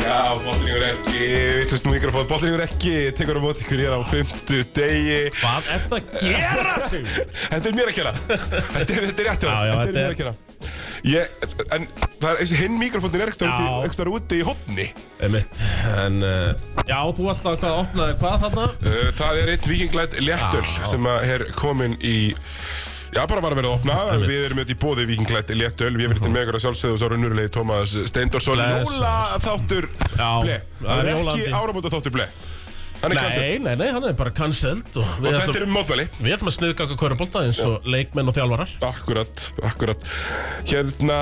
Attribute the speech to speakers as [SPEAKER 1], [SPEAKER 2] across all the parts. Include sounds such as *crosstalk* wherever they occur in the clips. [SPEAKER 1] Já, botningur ekki, vittlust mikrofón, botningur ekki, tekur á mót ykkur hér á fymtu degi.
[SPEAKER 2] Hvað er það að gera sig?
[SPEAKER 1] Þetta er mér að gera. Þetta er, þetta er rétt hjá
[SPEAKER 2] Já,
[SPEAKER 1] þér.
[SPEAKER 2] já,
[SPEAKER 1] Þetta er
[SPEAKER 2] þetta
[SPEAKER 1] mér
[SPEAKER 2] er-
[SPEAKER 1] að gera. Ég, en það er, þessi hinn mikrofónin er
[SPEAKER 2] Já.
[SPEAKER 1] ekstra úti í hotni.
[SPEAKER 2] Einmitt, en uh, Já, þú varst að hvað opnaði hvað þarna?
[SPEAKER 1] Uh, það er eitt vikinglætt léttöl
[SPEAKER 2] Já.
[SPEAKER 1] sem að er komin í Já, bara var að vera að opna. Við erum auðvitað í bóði vikinglætt léttöl. Við erum auðvitað með ykkur að sjálfsögðu og svo erum nýrulegi Tómas Steindorsson.
[SPEAKER 2] Mhm. Bless.
[SPEAKER 1] Jóla þáttur
[SPEAKER 2] Já,
[SPEAKER 1] ble.
[SPEAKER 2] það
[SPEAKER 1] Það
[SPEAKER 2] er
[SPEAKER 1] er ekki
[SPEAKER 2] jólandi.
[SPEAKER 1] áramóta þáttur ble. Hann er kansett.
[SPEAKER 2] Nei, nei, nei, hann er bara cancelled og við
[SPEAKER 1] Og
[SPEAKER 2] ætlum-
[SPEAKER 1] þetta er um mótmæli.
[SPEAKER 2] Við ætlum að sniðka okkur kvörubólta eins og leikmenn og þjálfarar
[SPEAKER 1] Akkurat, akkurat Hérna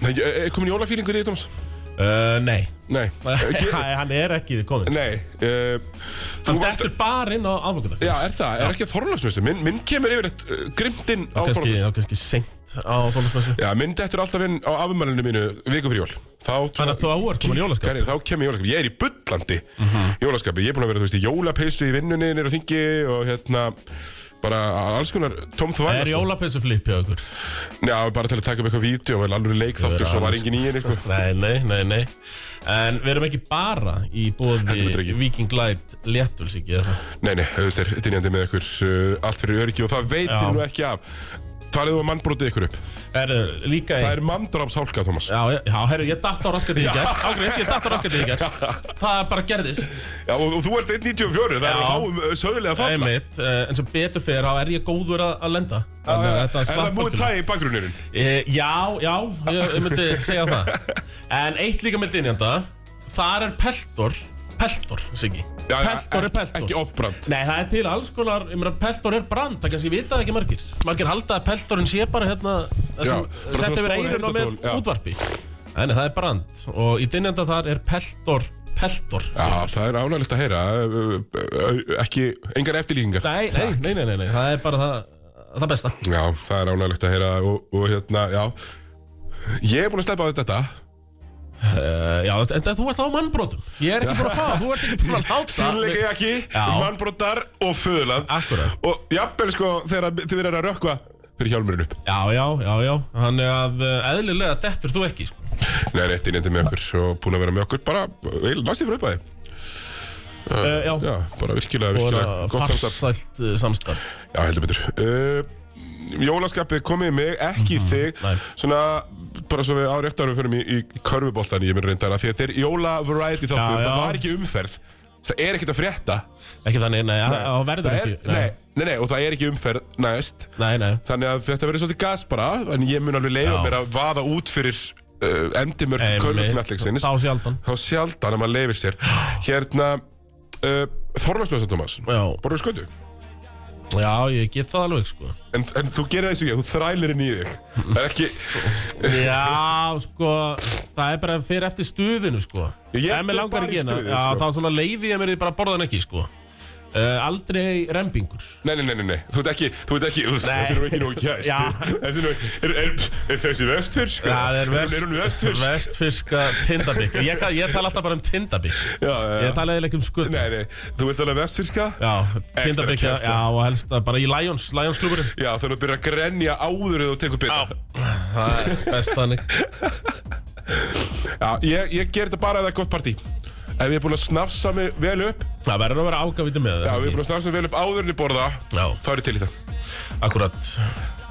[SPEAKER 1] Nei, Er komin jólafýringur í því, Tómas?
[SPEAKER 2] uh, Nei, *laughs*
[SPEAKER 1] Nei
[SPEAKER 2] Nei,
[SPEAKER 1] Ge-
[SPEAKER 2] hann er ekki komin
[SPEAKER 1] Nei uh,
[SPEAKER 2] Hann dettur bara inn á aðvokata
[SPEAKER 1] Já, er það? Er ekki þorlagsmessu? Minn, minn kemur yfir eitt uh, grimtinn á
[SPEAKER 2] Kannski,
[SPEAKER 1] þorlagsmessu
[SPEAKER 2] já, kannski seint á þólasmessu
[SPEAKER 1] Já, minn dettur alltaf inn á afumælunum mínu viku fyrir jól Þá
[SPEAKER 2] Þannig að þú ert komin í jólaskap
[SPEAKER 1] Hvernig, þá kem ég í jólaskapi, ég er í bullandi
[SPEAKER 2] Mhm.
[SPEAKER 1] jólaskapi, ég er búin að vera, þú veist, í jólapeysu í vinnunni nýr á þingi og hérna bara alls konar tómþvæl
[SPEAKER 2] Er jólapeysu flip hjá *laughs* okkur?
[SPEAKER 1] Já, bara til að taka upp eitthvað vídeo, vel alveg leikþáttur, svo var engin í henni, sko
[SPEAKER 2] Nei, nei, nei, nei En við erum ekki bara í
[SPEAKER 1] Heldur betur
[SPEAKER 2] bóði
[SPEAKER 1] ekki.
[SPEAKER 2] Viking Light léttul sikið
[SPEAKER 1] Nei, nei, auðvitað er dynjandi með ykkur uh, allt fyrir öryggi og það veitir
[SPEAKER 2] Já.
[SPEAKER 1] nú ekki af. Talið þú að mannbrotið ykkur upp.
[SPEAKER 2] Er líka
[SPEAKER 1] Það
[SPEAKER 2] í
[SPEAKER 1] er manndrámshálka, Thomas.
[SPEAKER 2] Já, já, já, herru, ég datt á raskandi í gerð Ágreif, ég datt á raskandi í gerð Það bara gerðist
[SPEAKER 1] Já, og, og þú ert 1.94, það er
[SPEAKER 2] Já.
[SPEAKER 1] háum uh, sögulega falla.
[SPEAKER 2] Einmitt, eh, en sem betur fyrir þá er ég góður að, að lenda Þannig að
[SPEAKER 1] En
[SPEAKER 2] þetta
[SPEAKER 1] það
[SPEAKER 2] slapp
[SPEAKER 1] múið
[SPEAKER 2] okkur.
[SPEAKER 1] tæði í bakgrunnirinn.
[SPEAKER 2] Eh, Já, já, ég, ég myndi segja það En eitt líka með dynjanda Þar er peltor Peltor, Siggi
[SPEAKER 1] Já, já,
[SPEAKER 2] Peltor er
[SPEAKER 1] ek-
[SPEAKER 2] peltor
[SPEAKER 1] Ekki off-brand.
[SPEAKER 2] Nei, það er til alls konar, ég meina, peltor er brand, það kannski vita það ekki margir. Margir halda að peltorinn sé bara hérna, það sem
[SPEAKER 1] Já, bara
[SPEAKER 2] setja
[SPEAKER 1] svona stór
[SPEAKER 2] yfir eirun og með
[SPEAKER 1] heyrnartól, já.
[SPEAKER 2] útvarpi. Nei, nei, það er brand og í dynjanda þar er peltor, peltor.
[SPEAKER 1] Já, það er ánægilegt að heyra. uh, uh, uh, Ekki, engar eftirlíkingar.
[SPEAKER 2] Nei, nei, nei, nei, nei, nei, það er bara það, það besta.
[SPEAKER 1] Já, það er ánægilegt að heyra og, og hérna, já. Ég er búin að sleppa á þetta.
[SPEAKER 2] Uh, já, en það, þú ert á mannbrotum. Ég er ekki búin að fá, þú ert ekki búin að láta.
[SPEAKER 1] Sýnleika ég ekki,
[SPEAKER 2] Já.
[SPEAKER 1] mannbrotar og föðuland.
[SPEAKER 2] Akkúrat.
[SPEAKER 1] Og jafnvel sko, þegar þið verður að rökkva fyrir hjálmurinn upp.
[SPEAKER 2] Já, já, já, já, þannig að uh, eðlilega þetta er þú ekki. sko.
[SPEAKER 1] Nei, rétt inn með okkur og búin að vera með okkur bara, eil, næstu fyrir uppæði
[SPEAKER 2] Uh, já,
[SPEAKER 1] Já, bara virkilega, virkilega
[SPEAKER 2] og
[SPEAKER 1] gott
[SPEAKER 2] það
[SPEAKER 1] samstarf
[SPEAKER 2] farsælt uh, samstarf.
[SPEAKER 1] Já, heldur betur uh, Jólaskapið komið í mig, ekki í þig
[SPEAKER 2] Mhm, nei.
[SPEAKER 1] Svona, bara svo við á réttar við förum í, í körfuboltan ég minn reyndar að því að þetta er jóla variety þáttur
[SPEAKER 2] Já, já.
[SPEAKER 1] Það var ekki umferð Það er ekkert að frétta
[SPEAKER 2] Ekki þannig, nei, það verður
[SPEAKER 1] Það er,
[SPEAKER 2] ekki.
[SPEAKER 1] nei, nei, nei, og það er ekki umferð næst
[SPEAKER 2] nei, nei.
[SPEAKER 1] Þannig að þetta verður svolítið gas bara En ég mun alveg leiða
[SPEAKER 2] Já.
[SPEAKER 1] mér að vaða út fyrir uh, endimörk
[SPEAKER 2] Einmitt,
[SPEAKER 1] körfuknallegsins
[SPEAKER 2] Þá sjaldan
[SPEAKER 1] þá sjaldan að maður leifir sér hérna uh, Þorlagsmjössan Tómas
[SPEAKER 2] Já,
[SPEAKER 1] borður sköndu
[SPEAKER 2] já, ég get það alveg sko
[SPEAKER 1] en, en þú gerir það eins og ég, þú þrælir inn í þig það er ekki
[SPEAKER 2] Já, sko, það er bara fyrir eftir stuðinu sko
[SPEAKER 1] Ég
[SPEAKER 2] Ef mig
[SPEAKER 1] fer bara í
[SPEAKER 2] ekki hérna,
[SPEAKER 1] stuðið,
[SPEAKER 2] Já,
[SPEAKER 1] sko.
[SPEAKER 2] þá svona leiði ég mér því bara að borða hann ekki sko uh, Aldrei rembingur
[SPEAKER 1] nei, nei, nei, nei, nei, þú ert ekki þú ert ekki, þú-
[SPEAKER 2] Nei.
[SPEAKER 1] þessi er nú ekki nógu gæst
[SPEAKER 2] Já.
[SPEAKER 1] þessi er nú, er, er, er þessi vestfyrsk
[SPEAKER 2] Það er
[SPEAKER 1] er hún vestfyrsk
[SPEAKER 2] vestfyrska tindabik ég, ég tala alltaf bara um tindabik
[SPEAKER 1] já, já, já.
[SPEAKER 2] Ég tala eða ekki um skutt
[SPEAKER 1] nei, nei, þú ert alveg vestfyrska
[SPEAKER 2] Já, tindabik, já,
[SPEAKER 1] kæsta.
[SPEAKER 2] já, og helst að bara í Lions, Lions kluburinn
[SPEAKER 1] já, þannig að byrja að grenja áður eða þú tekur byrja
[SPEAKER 2] Það er best þannig
[SPEAKER 1] já, ég, ég ger þetta bara ef það er gott partí ef ég er búin að snafsa mig vel upp
[SPEAKER 2] Það verður að vera ágafíti með
[SPEAKER 1] já, ef ég er búin að snafsa mig vel upp áður en ég borða
[SPEAKER 2] Já.
[SPEAKER 1] þá er ég til í það
[SPEAKER 2] Akkurat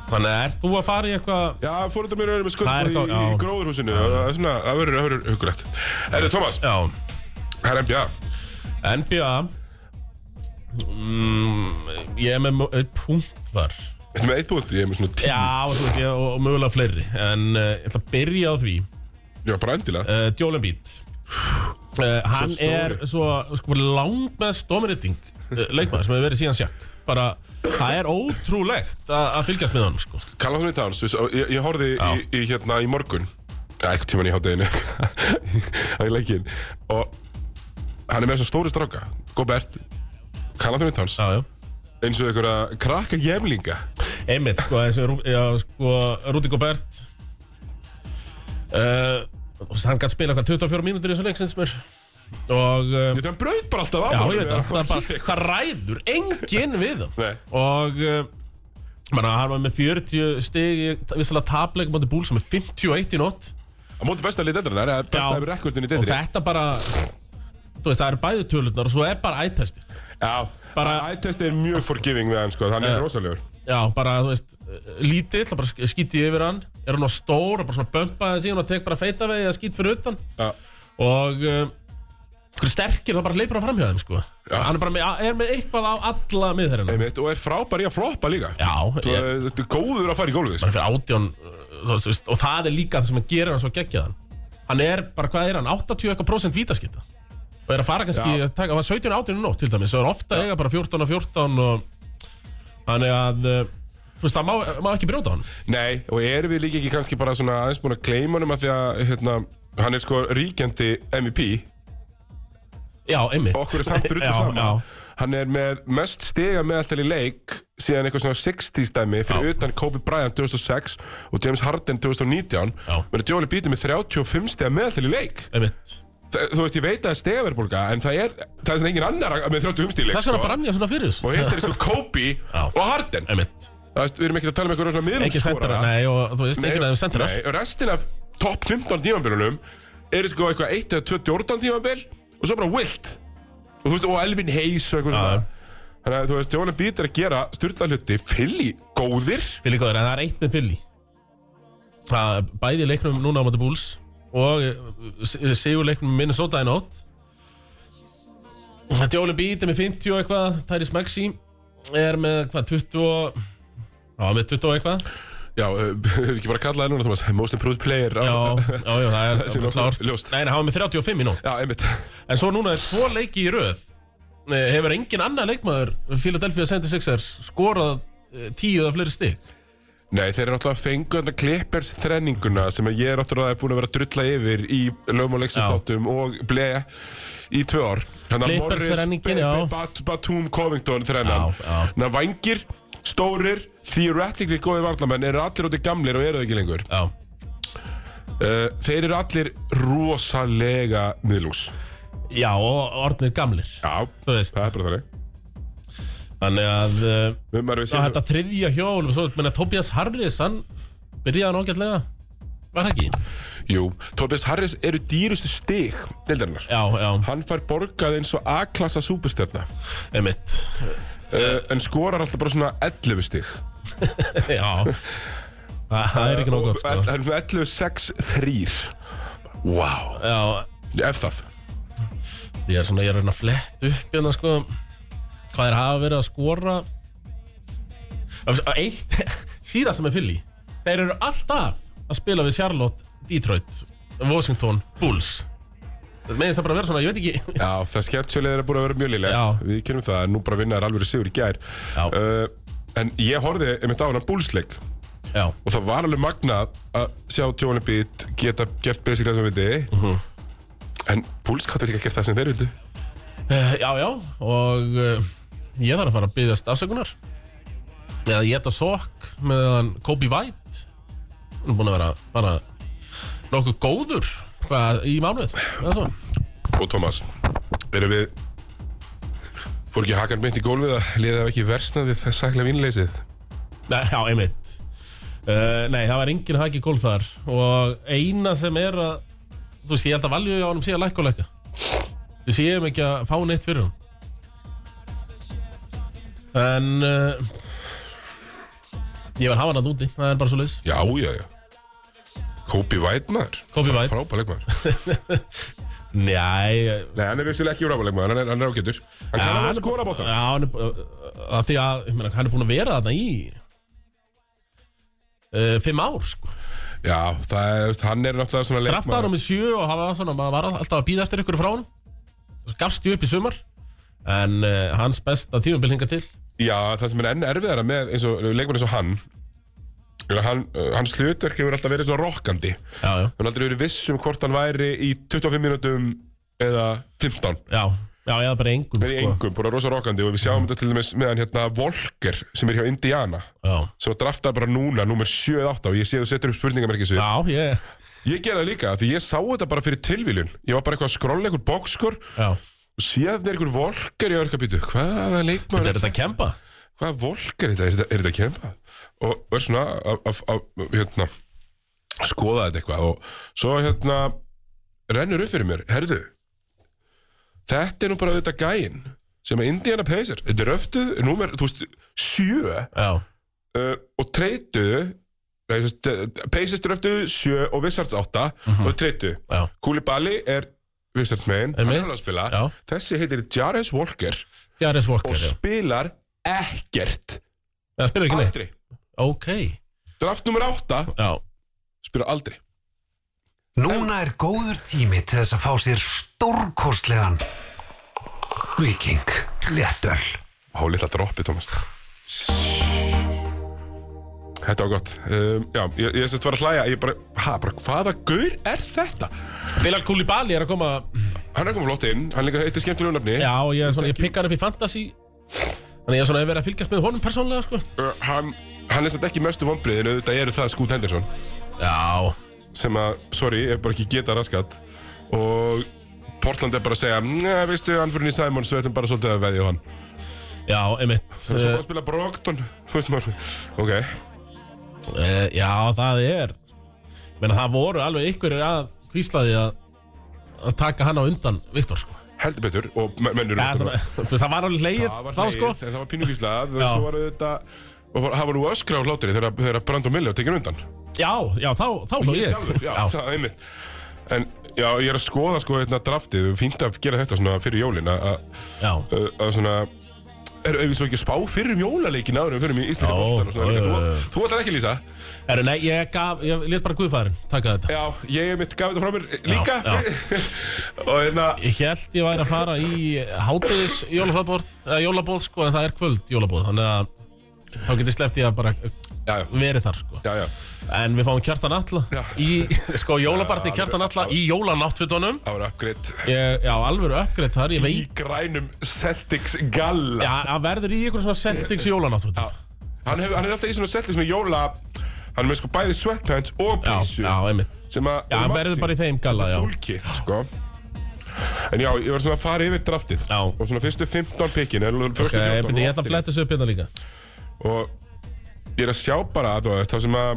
[SPEAKER 2] Þannig að ert þú að fara í eitthvað
[SPEAKER 1] Já, fórhundar mér eru með
[SPEAKER 2] Það er
[SPEAKER 1] sköldbúð í,
[SPEAKER 2] eitthvað- já.
[SPEAKER 1] í gróðurhúsinu Það er svona, það verður, það verður hugulegt Erðu, Thomas,
[SPEAKER 2] Já,
[SPEAKER 1] það er NBA
[SPEAKER 2] NBA mm, Ég er með mö- einn punkt þar
[SPEAKER 1] Þetta með eitt punkt, ég er með svona tíu Já,
[SPEAKER 2] Já, þú veist, ég, og, og mögulega fleiri En uh, ég ætla að byrja á því
[SPEAKER 1] bara endilega
[SPEAKER 2] uh, Joel Embiid uh, Hann
[SPEAKER 1] stóri.
[SPEAKER 2] er svo sko, langbest domriting uh, leikmaður sem hefur verið síðan sjakk bara, það er ótrúlegt a- að fylgjast með honum sko.
[SPEAKER 1] Kalla hún í tans, ég, ég horfði í, í hérna í morgun Já, eitthvað tíman í *laughs* hátteginu Það er leikinn Og hann er með þessa stóri stráka Gobert, kalla hún í tans
[SPEAKER 2] Já, já
[SPEAKER 1] Eins og einhverja krakka jemlinga
[SPEAKER 2] Einmitt, sko, þessi, Rú- já, sko Rúti Gobert Eh, uh, hann gætt spila hvað 24 mínútur í þessu leik sem mér og um,
[SPEAKER 1] Þetta hann braut bara alltaf á
[SPEAKER 2] já,
[SPEAKER 1] honum,
[SPEAKER 2] ég veit
[SPEAKER 1] eða?
[SPEAKER 2] það, það, er bara, það ræður enginn við hann
[SPEAKER 1] Nei.
[SPEAKER 2] og um, manna, hann var með 40 stig í vissalega tapleik mátu búl sem er 51 í nótt
[SPEAKER 1] *laughs* Á móti besta lið deildar, það er besta
[SPEAKER 2] Já.
[SPEAKER 1] yfir rekordin í
[SPEAKER 2] og
[SPEAKER 1] deildri
[SPEAKER 2] þetta bara þú veist, það eru bæði tölurnar og svo er bara ættestið
[SPEAKER 1] Já,
[SPEAKER 2] Bara-
[SPEAKER 1] ættest er mjög forgiving við hann sko, hann er
[SPEAKER 2] Já.
[SPEAKER 1] rosalegur
[SPEAKER 2] Já, bara, þú veist, eh, lítill, bara sk- skýti yfir hann Er hann á stór og bara svona bömpa þessi Og hann tek bara feita vegi að skýt fyrir utan
[SPEAKER 1] Já,
[SPEAKER 2] Og um, Hver sterkir, þá bara leipur hann framhjá þeim, sko
[SPEAKER 1] Já.
[SPEAKER 2] Hann er bara með, er með eitthvað á alla miðherrina
[SPEAKER 1] einmitt, og er frábær í að floppa líka
[SPEAKER 2] Já,
[SPEAKER 1] Svo,
[SPEAKER 2] ég,
[SPEAKER 1] Þetta er góður að fara í gólfið sko.
[SPEAKER 2] bara fyrir átján eh, þú veist, Og það er líka það sem hann gerir hann svo geggjaðan Hann er, bara hvað er hann, 80 eitthvað prósent vítaskita Og er að fara kannski,
[SPEAKER 1] Já.
[SPEAKER 2] að taka, það var 17 18 nótt til dæmis Og er ofta eiga bara 14 og 14 og Þannig að, eh, þú veist, það má, má ekki brjóta á hann
[SPEAKER 1] Nei, og erum við líka ekki kannski bara svona aðeins búin að gleyma honum að því að hérna, hann er sko ríkjandi MVP
[SPEAKER 2] Já, einmitt
[SPEAKER 1] og okkur er samt ruttu
[SPEAKER 2] *laughs* Já,
[SPEAKER 1] saman
[SPEAKER 2] já.
[SPEAKER 1] Hann er með mest stiga meðalltal í leik síðan eitthvað svona 60 stæmi fyrir utan Kobe Bryant 2006 og James Harden 2019
[SPEAKER 2] Já.
[SPEAKER 1] menn að Jóli býti með 35 stiga meðalltal í leik
[SPEAKER 2] Einmitt.
[SPEAKER 1] Þa, Þú veist, ég veit að það er stigaverbólga en það er, það er svona engin annar að- með 35 stiga í leik
[SPEAKER 2] Þess vegna
[SPEAKER 1] sko.
[SPEAKER 2] brann ég svona fyrir þessu
[SPEAKER 1] og hitt er sko Kobe og Harden
[SPEAKER 2] *laughs* Einmitt.
[SPEAKER 1] Það veist, Við erum ekki að tala um eitthvað rosalega
[SPEAKER 2] Ekki sendara,
[SPEAKER 1] miðlungsskora
[SPEAKER 2] nei og þú veist
[SPEAKER 1] Nei,
[SPEAKER 2] einhvern veginn sendara
[SPEAKER 1] Nei, restin af topp 15 tímambilunum eru sko eitthvað 1 eða 28 tímambil og svo bara Wilt og þú veist, og Elvin Hayes og eitthvað
[SPEAKER 2] Já.
[SPEAKER 1] svona Þannig að þú veist, Jólan Bít er að gera styrla hluti Philly góðir
[SPEAKER 2] Fili góður, en það er eitt með Fili Það er bæði í leiknum núna á Mati Búls og eh, sigur leiknum með Minnesota í nótt Djóli Bít er með 50 og eitthvað Tyrese Maxi er með hvað 20 og Já, með 20 og eitthvað
[SPEAKER 1] Já, eh, *laughs* hefur ekki bara kallað það núna, Thomas Most improved player
[SPEAKER 2] Já,
[SPEAKER 1] á-
[SPEAKER 2] já, já, það er
[SPEAKER 1] sé nokkuð
[SPEAKER 2] klárt.
[SPEAKER 1] ljóst.
[SPEAKER 2] Nei, nei, hann var með 35 í nótt
[SPEAKER 1] Já, einmitt
[SPEAKER 2] En svo núna er tvo leiki í röð Eh, Hefur engin annar leikmaður Philadelphia 76ers skorað eh, tíu eða fleiri stygg
[SPEAKER 1] Nei, þeir eru náttúrulega að fengu þetta Clippers þrenninguna sem ég er náttúrulega búin að vera að drulla yfir í lögmáleiksistáttum og ble í tvö ár Þannig að
[SPEAKER 2] Clippers
[SPEAKER 1] Morris,
[SPEAKER 2] þrenningin,
[SPEAKER 1] Be-
[SPEAKER 2] já.
[SPEAKER 1] Be- Bat- Batum, Covington þrennan
[SPEAKER 2] Já, já.
[SPEAKER 1] Þannig að vangir, stórir, theoretically góði varnamenn eru allir úti gamlir og eru það ekki lengur
[SPEAKER 2] Já
[SPEAKER 1] uh, Þeir eru allir rosalega miðlús
[SPEAKER 2] Já, og orðnir gamlir
[SPEAKER 1] Já,
[SPEAKER 2] Þú veist,
[SPEAKER 1] það er bara þannig
[SPEAKER 2] þannig að uh,
[SPEAKER 1] Við maður við
[SPEAKER 2] það
[SPEAKER 1] séum
[SPEAKER 2] þetta þriðja hjól og svo, menna, Tobias Harris, hann byrjaði nákvæmlega Var það ekki?
[SPEAKER 1] Jú, Tobias Harris eru dýrustu stig deildarinnar
[SPEAKER 2] Já, já,
[SPEAKER 1] Hann fær borgað eins og A-klassa súpustjarnar
[SPEAKER 2] emitt
[SPEAKER 1] uh, en skorar alltaf bara svona 11 stig
[SPEAKER 2] *laughs* Já Það það er ekki nóg gott,
[SPEAKER 1] Og-
[SPEAKER 2] sko
[SPEAKER 1] en 11, 6, 3 Wow,
[SPEAKER 2] Já,
[SPEAKER 1] ef það
[SPEAKER 2] Ég er svona, ég er að reyna að fletta upp hérna sko Hvað er hafa verið að skora Af- af Eitt, *laughs* síðast sem er fyll í Þeir eru alltaf að spila við Charlotte, Detroit, Washington, Bulls Það meðist það bara að vera svona, ég veit ekki
[SPEAKER 1] Já, það sketsjuleg er búin að vera mjög
[SPEAKER 2] Já.
[SPEAKER 1] lilegt Við kynum það, en nú bara vinnaðar alveg sigur í gær
[SPEAKER 2] Já.
[SPEAKER 1] uh, En ég horfði einmitt á hennan búlsleik
[SPEAKER 2] Já,
[SPEAKER 1] Og það var alveg magnað að sjá Tjóni Bít geta gert basically það sem við viti
[SPEAKER 2] Mhm.
[SPEAKER 1] En búls gáttu líka að gera það sem þeir vildu
[SPEAKER 2] Eh, já, já og eh, ég þarf að fara að byggðast afsökunar Eða ég ætta sokk meðan Kobe White Hún er búin að vera bara nokkuð góður hvað, í mánuð eða svo.
[SPEAKER 1] Og Tómas, erum við Fór ekki hakan beint í gólfið að liðið hafa ekki versnaði þess saklega vínleysið
[SPEAKER 2] Nei, já, einmitt uh, Nei, það var engin haki gól þar Og eina sem er að Þú veist, ég held að valju á honum sé að lækka og lækka Þú séum ekki að fá neitt fyrir hann En uh, Ég var hafa hann að úti Það er bara svo leis
[SPEAKER 1] Já, já, já Kobe White maður
[SPEAKER 2] Kobe White.
[SPEAKER 1] Frábæleg maður
[SPEAKER 2] Nei eh,
[SPEAKER 1] Nei, hann er vissulega ekki frábæleg maður, hann er, hann er ágætur Hann
[SPEAKER 2] Já,
[SPEAKER 1] kann alveg
[SPEAKER 2] hann
[SPEAKER 1] að
[SPEAKER 2] er
[SPEAKER 1] skora bóta
[SPEAKER 2] Já, hann er bú- eh, að Því að ég meina, hann er búin að vera þarna í uh, Fimm ár, sko
[SPEAKER 1] Já, það er, þú veist, hann er náttúrulega svona
[SPEAKER 2] draftaði hann um í sjö og hafa svona, maður var alltaf að býða eftir ykkur frá hann gafst ju upp í sumar en uh, hans besta tímabil hinga til
[SPEAKER 1] Já, það sem er enn erfiðara með eins og leikmann eins og hann er að hann, uh, Hans hlutverk hefur alltaf verið svona rokkandi Hann
[SPEAKER 2] já, já,
[SPEAKER 1] er aldrei verið viss um hvort hann væri í 25 mínútum eða 15
[SPEAKER 2] já Já, eða bara engum
[SPEAKER 1] Með í
[SPEAKER 2] sko.
[SPEAKER 1] engum, bara rosa rokkandi og við sjáum þetta til dæmis meðan hérna Volker sem er hjá Indiana
[SPEAKER 2] Já,
[SPEAKER 1] sem var draftað bara núna, númer 7-8 og ég sé að þú setur upp spurningamerkis við
[SPEAKER 2] já, ég
[SPEAKER 1] Ég gerði það líka, því ég sá þetta bara fyrir tilvílun Ég var bara eitthvað að skrolla einhver bókskur
[SPEAKER 2] Já,
[SPEAKER 1] og séð þér einhver Volker í örkabítu Hvaða
[SPEAKER 2] þetta
[SPEAKER 1] leikmaður
[SPEAKER 2] er þetta að kempa
[SPEAKER 1] hvaða volk er þetta, er þetta, er þetta að kempa? Og verð svona að- að að- hérna, skoða þetta eitthvað og svo hérna rennur upp fyrir mér, herðu þetta er nú bara auðvitað gæinn sem er Indiana Pacers, þetta er öftuð númer, þú veist, sjö
[SPEAKER 2] Já,
[SPEAKER 1] uh, og treytuðu nei, þú veist, eh, Pacers er öftuð sjö og Wizards átta
[SPEAKER 2] Mhm.
[SPEAKER 1] og treytuðu
[SPEAKER 2] já,
[SPEAKER 1] Kúli Bali er Wizards megin, hann er
[SPEAKER 2] Einmitt.
[SPEAKER 1] alveg að spila
[SPEAKER 2] já
[SPEAKER 1] þessi heitir Jarvis Walker
[SPEAKER 2] Jaris Walker,
[SPEAKER 1] og
[SPEAKER 2] já
[SPEAKER 1] spilar ekkert
[SPEAKER 2] Það spilur ekki neitt
[SPEAKER 1] aldrei
[SPEAKER 2] Ok,
[SPEAKER 1] Draft nummer 8
[SPEAKER 2] já
[SPEAKER 1] spyrir aldrei
[SPEAKER 3] Núna er góður tími til þess að fá sér stórkostlegan Viking Léttöl
[SPEAKER 1] Há litla droppi, Thomas Þetta var gott um, Já, ég, ég sérst var að hlæja Ég bara, ha, bara, hvaða gaur er þetta?
[SPEAKER 2] Bilal Koulibaly er að koma
[SPEAKER 1] Hann er komið flott inn, hann líka heitir skemmtilegu nafni
[SPEAKER 2] Já, ég, er svona, ég pikkar upp í fantasy Þannig ég er svona að vera að fylgjast með honum persónlega sko.
[SPEAKER 1] uh, Hann, hann er samt ekki mestu vonbriðin auðvitað eru það Scoot Henderson
[SPEAKER 2] Já,
[SPEAKER 1] sem að, sorry, er bara ekki geta raskat og Portland er bara að segja Nei, veistu, hann fyrir niður Simons við ætlum bara svolítið að veðja á hann
[SPEAKER 2] já, einmitt
[SPEAKER 1] Svo
[SPEAKER 2] Eh,
[SPEAKER 1] bara að spila Brogdon, þú veist maður Ok,
[SPEAKER 2] Uh, já, það er menna, Það voru alveg ykkurir að hvíslaði að, að taka hann á undan Viktor sko.
[SPEAKER 1] heldur betur og men- mennur
[SPEAKER 2] það, svona, *laughs* þú veist, það var alveg leið
[SPEAKER 1] Það var
[SPEAKER 2] þá
[SPEAKER 1] hlegið,
[SPEAKER 2] sko
[SPEAKER 1] en það var pínugíslað
[SPEAKER 2] Já.
[SPEAKER 1] og svo var þetta og bara- það var nú öskra á hlátri þegar, þegar Brandon Mille var tekinn undan
[SPEAKER 2] Já, já, þá, þá hló ég
[SPEAKER 1] sjálfur, já,
[SPEAKER 2] já,
[SPEAKER 1] það er einmitt en já, ég er að skoða sko hérna draftið við fínt að gera þetta svona fyrir jólin að- að
[SPEAKER 2] já,
[SPEAKER 1] að- Eh, að svona er auðvitað svo ekki að spá fyrir um jólaleikin áður en fyrir um í Íslandi
[SPEAKER 2] Já,
[SPEAKER 1] bóltan og svona
[SPEAKER 2] já,
[SPEAKER 1] líka.
[SPEAKER 2] já, já.
[SPEAKER 1] þú, þú ætlar ekki Lísa
[SPEAKER 2] Heru, Nei, ég, gaf, ég let bara guðfæðurinn taka þetta
[SPEAKER 1] já, ég er mitt gaf þetta frá mér eh, líka
[SPEAKER 2] já.
[SPEAKER 1] *laughs* og hérna
[SPEAKER 2] Ég held ég væri að fara í hátis jólabóð, jólabóð sko, en það er kvöld jólabóð þannig að þá getur sleppt ég að bara
[SPEAKER 1] já, já,
[SPEAKER 2] verið þar sko.
[SPEAKER 1] já, já
[SPEAKER 2] En við fáum kjartan alla
[SPEAKER 1] Já.
[SPEAKER 2] í, sko, jólabarti kjartan alla í jólanáttfutunum
[SPEAKER 1] það var uppgreitt
[SPEAKER 2] Ég, já, alvöru uppgreitt þar, ég
[SPEAKER 1] í
[SPEAKER 2] veit
[SPEAKER 1] grænum Celtics galla
[SPEAKER 2] Já, hann verður í ykkur svona Celtics jólanátt Já,
[SPEAKER 1] hann, hef, hann er alltaf í svona setti svona jóla hann er með sko bæði sweatpants og
[SPEAKER 2] já,
[SPEAKER 1] písu
[SPEAKER 2] já, einmitt
[SPEAKER 1] sem að
[SPEAKER 2] Já, hann verður bara í þeim galla, já
[SPEAKER 1] full kit sko en já, ég var svona að fara yfir draftið
[SPEAKER 2] Já.
[SPEAKER 1] og svona fyrstu 15 pikkin er, okay,
[SPEAKER 2] Ok, byrju, Eh, ég ætla að fletta þessu upp hérna líka
[SPEAKER 1] og ég er að sjá bara þú veist, það sem að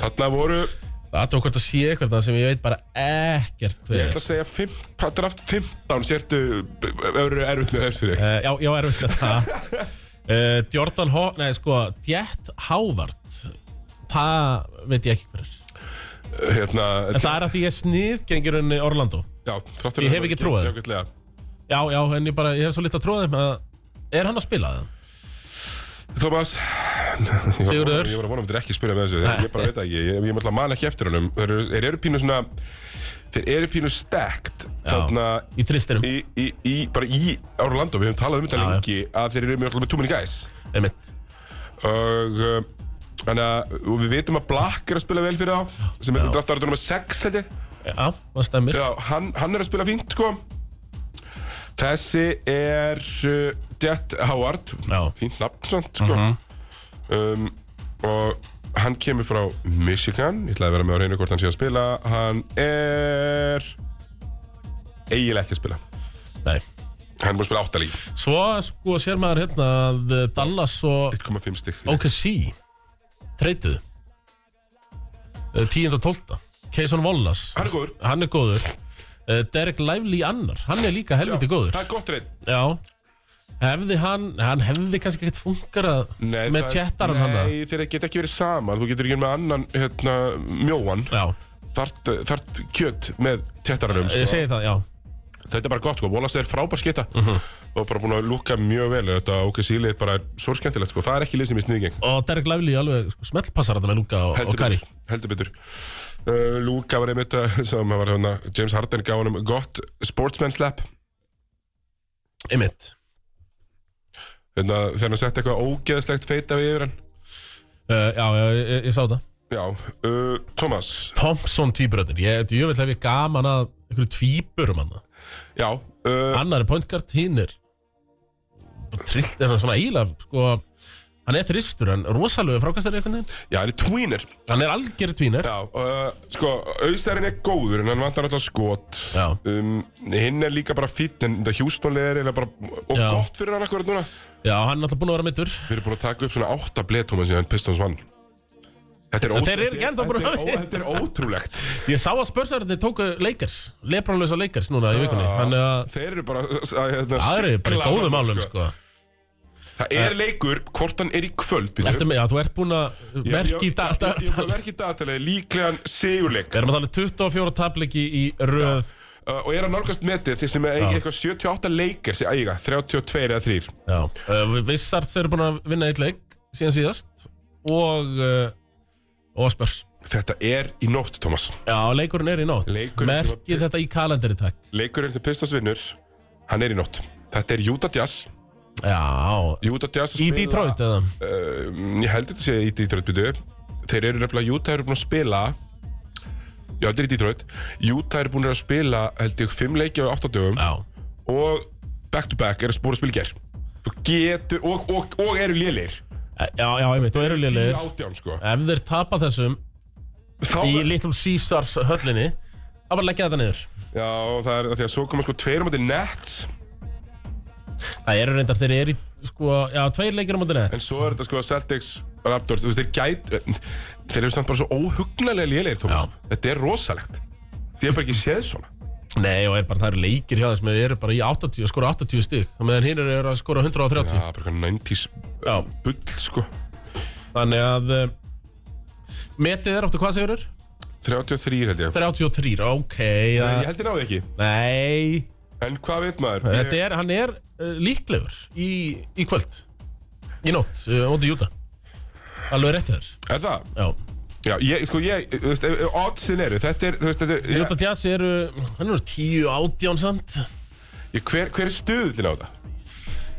[SPEAKER 1] þarna voru ég
[SPEAKER 2] Það tók hvort að sé eitthvað það sem ég veit bara ekkert hver er
[SPEAKER 1] ætla að segja fimm, draft 15 sértu eru erfitt með öll fyrir þig
[SPEAKER 2] uh, Já, já, er við það
[SPEAKER 1] *laughs*
[SPEAKER 2] uh, Jordan Ho... Nei, sko, Djett Hávart Það veit ég ekki hver er
[SPEAKER 1] hérna,
[SPEAKER 2] En það er að því ég snið gengur henni Orlando
[SPEAKER 1] já, þrátt fyrir að
[SPEAKER 2] Ég hef
[SPEAKER 1] það
[SPEAKER 2] ekki
[SPEAKER 1] var
[SPEAKER 2] trúað.
[SPEAKER 1] gengið ágætlega.
[SPEAKER 2] Já, já, en ég bara, ég hef svo litla tróðið með að Er hann að spila það?
[SPEAKER 1] Thomas ég var-
[SPEAKER 2] Sigurður?
[SPEAKER 1] Ég var að vona um þetta ekki að spyrja með þessu Ég bara veit það ekki, ég, ég, ég ætla að man ekki eftir honum Þeir eru, þeir eru pínu svona Þeir eru pínu stacked Þarna
[SPEAKER 2] Í þristirum,
[SPEAKER 1] í, í, í, bara í Orlando Við höfum talað um þetta
[SPEAKER 2] Já, já.
[SPEAKER 1] lengi Að þeir eru mjög alltaf með too many guys
[SPEAKER 2] einmitt
[SPEAKER 1] Og uh, Þannig að og við vitum að Black er að spila vel fyrir þá Sem er draftar árið nummer 6 held ég
[SPEAKER 2] Já, það stemmir
[SPEAKER 1] Já, hann, hann er að spila fínt sko Þessi er uh, Jet Howard
[SPEAKER 2] Já. Mhm.
[SPEAKER 1] Fínt nafn samt sko um, Og hann kemur frá Michigan Ég ætlaði að vera með á reynu hvort hann sé að spila Hann er Eiginlega ekki að spila
[SPEAKER 2] Nei
[SPEAKER 1] Hann er búin að spila áttalík
[SPEAKER 2] Svo sko sér maður hérna að Dallas og
[SPEAKER 1] 1,5 stygg
[SPEAKER 2] OKC treytuðu Eh, 10. og 12. Keyson Wallace
[SPEAKER 1] Hann er góður
[SPEAKER 2] hann er góður Eh, Derek Lively annar, hann er líka helviti góður
[SPEAKER 1] Það er gott reynd
[SPEAKER 2] Já Hefði hann, hann hefði kannski ekkert funkarað með tjettar hann hann
[SPEAKER 1] Nei, þeir geta ekki verið saman Þú getur ekki verið með annan hérna, mjóan
[SPEAKER 2] Já,
[SPEAKER 1] Þart, þart kjöt með tjettaranum sko.
[SPEAKER 2] ég segi Mhm. það, já
[SPEAKER 1] þetta er bara gott sko, Wallace er frábær skita og bara búin að lúka mjög vel þetta OK Síli er bara svo skemmtilegt sko, það er ekki lið sem ég snið í geng
[SPEAKER 2] Og Derek Lively alveg sko, smellpassar þetta með Luka og, og Kari
[SPEAKER 1] betur, heldur betur. Uh, *laughs* Lúka var einmitt að- sem var hérna, James Harden gaf honum gott sportsman slap
[SPEAKER 2] Einmitt
[SPEAKER 1] hérna, þegar hann setti eitthvað ógeðslegt feita við yfir hann
[SPEAKER 2] uh, Já, já, ég, ég, ég sá það
[SPEAKER 1] já, uh, Thomas
[SPEAKER 2] Thompson tvíburöðin, ég veit, ég veit hef ég gaman að einhverju tvíburum hann
[SPEAKER 1] Já, uh,
[SPEAKER 2] annar er pointgard, hinn er bara trillt er hann svona íla sko, hann er þristur en rosalegu frákastar einhvern veginn,
[SPEAKER 1] já, hann er tweener
[SPEAKER 2] hann er algjör tvínar
[SPEAKER 1] Já, uh, sko, auðstæðurinn er góður en hann vantar alltaf skot
[SPEAKER 2] já,
[SPEAKER 1] um, Hinn er líka bara fýtt en þetta hjústóli er eiginlega bara of
[SPEAKER 2] Já.
[SPEAKER 1] gott fyrir hann akkurat núna
[SPEAKER 2] já, hann er alltaf búin að vera mittur
[SPEAKER 1] Við erum búin að taka upp svona átta bletóma síðan Pistons vann Þetta er,
[SPEAKER 2] En þeir eru ekki ennþá búin að-
[SPEAKER 1] þetta er, ó- þetta er ótrúlegt
[SPEAKER 2] ég sá að spörsarðinni tóku leikars lebranlösa leikars núna
[SPEAKER 1] Ah.
[SPEAKER 2] í vikunni þannig að
[SPEAKER 1] Þeir eru bara að, hérna,
[SPEAKER 2] það eru bara í
[SPEAKER 1] sigla
[SPEAKER 2] góðum
[SPEAKER 1] þarna,
[SPEAKER 2] álum sko. Eh.
[SPEAKER 1] Það er leikur, hvort hann er í kvöld býtu.
[SPEAKER 2] Ertu, með- já, þú ert búin að
[SPEAKER 1] Ég-
[SPEAKER 2] merki
[SPEAKER 1] ég-
[SPEAKER 2] data
[SPEAKER 1] Ég er verkið datalegi, líklegan sigurleik
[SPEAKER 2] við erum að tala um 24 tapleiki í röð
[SPEAKER 1] uh, Og er að nálgast metið því sem eigi eitthvað 78 leikir sem eiga 32 eða 3
[SPEAKER 2] Já, uh, vissar þeir eru búin að vinna eitt leik síðan síðast og uh, og spörs
[SPEAKER 1] Þetta er í nótt, Thomas
[SPEAKER 2] Já, leikurinn er í nótt
[SPEAKER 1] Leikurinn sem
[SPEAKER 2] Merkið
[SPEAKER 1] var-
[SPEAKER 2] þetta í kalendari takk
[SPEAKER 1] Leikurinn sem Pistons vinnur, hann er í nótt Þetta er Utah Jazz
[SPEAKER 2] Já,
[SPEAKER 1] Utah Jazz að
[SPEAKER 2] í
[SPEAKER 1] spila-
[SPEAKER 2] Detroit eða
[SPEAKER 1] uh, Ég held þetta sé í Detroit byrju Þeir eru nefnilega, Utah eru búin að spila Já, þetta er í Detroit Utah eru búin að spila, held ég, 5 leikja á 8 dögum
[SPEAKER 2] Já,
[SPEAKER 1] og back to back eru spóra spilger þú getur, og, og, og eru lélir
[SPEAKER 2] Eh, já, já einmitt, þú eru lélegir
[SPEAKER 1] 18 sko
[SPEAKER 2] Ef þeir tapa þessum
[SPEAKER 1] Þá,
[SPEAKER 2] í Little Caesars höllinni þá bara leggja þetta niður
[SPEAKER 1] já, það er af því að svo koma sko tveir á móti nett
[SPEAKER 2] Það eru reyndar, þeir eru í sko, já, tveir leikir á mótinu
[SPEAKER 1] en svo er þetta sko Celtics Raptors, þú veist, þeir gæt þeir eru samt bara svo óhugnalega lélir Thomas, þetta er rosalegt því að bara ekki séð svona
[SPEAKER 2] Nei, og er bara, það eru leikir hjá þessum þeir eru bara í 80, að skora 80 stig og meðan hinn eru að skora
[SPEAKER 1] já,
[SPEAKER 2] 130
[SPEAKER 1] bara eitthvað 90s
[SPEAKER 2] Já.
[SPEAKER 1] bull sko
[SPEAKER 2] Þannig að uh, Metið er áttu hvað segurur?
[SPEAKER 1] 33 held ég
[SPEAKER 2] 33, ok
[SPEAKER 1] Ég
[SPEAKER 2] það,
[SPEAKER 1] held ég náði ekki,
[SPEAKER 2] Nei,
[SPEAKER 1] en hvað veit maður?
[SPEAKER 2] þetta er, hann er uh, líklegur í, í kvöld Í nótt, uh, á móti Júta Alveg rétt þér
[SPEAKER 1] Er það?
[SPEAKER 2] Já
[SPEAKER 1] Já, ég, sko, ég, þú veist, ef- ef oddsin eru, þetta er, þú veist, þetta er,
[SPEAKER 2] Júta Tjass eru, hann eru 10 átján samt
[SPEAKER 1] ég, hver, hver er stuðlinn á það?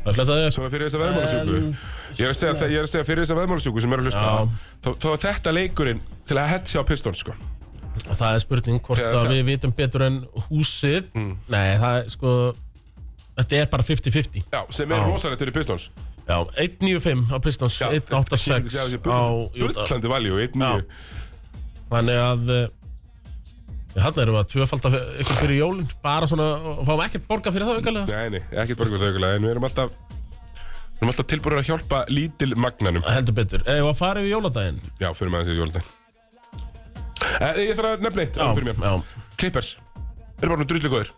[SPEAKER 2] Það fletaði upp
[SPEAKER 1] Svona fyrir þessa veðmálasjúku
[SPEAKER 2] En-
[SPEAKER 1] Ég er að segja, ég er að segja fyrir þessa veðmálasjúku sem er að hlusta
[SPEAKER 2] Já.
[SPEAKER 1] þá, þá er þetta leikurinn til að hetsja á pistón sko.
[SPEAKER 2] Og það er spurning hvort
[SPEAKER 1] Þegar
[SPEAKER 2] að
[SPEAKER 1] það- Mm.
[SPEAKER 2] við vitum betur en húsið Nei, það er sko Þetta er bara 50-50
[SPEAKER 1] Já, sem er rosalegt fyrir pistóns
[SPEAKER 2] Já, 1.95 á Pistons 1.86 á Júta
[SPEAKER 1] Bullandi valjú, 1-9
[SPEAKER 2] Já. Þannig að Þannig erum við að tvöfalda ykkur fyrir jólin Bara svona, og fáum ekkert borga fyrir það aukalega
[SPEAKER 1] Nei, nei, ekkert borgur þaukulega En við erum alltaf Við erum alltaf tilbúin að hjálpa lítil magnanum
[SPEAKER 2] Heldur betur, eða að fara yfir jóladaginn
[SPEAKER 1] Já, fyrir maður þessi jólta Eh, Ég þarf að nefna eitt
[SPEAKER 2] Já,
[SPEAKER 1] alveg fyrir mér.
[SPEAKER 2] já,
[SPEAKER 1] Clippers Eru bara nú drullu góður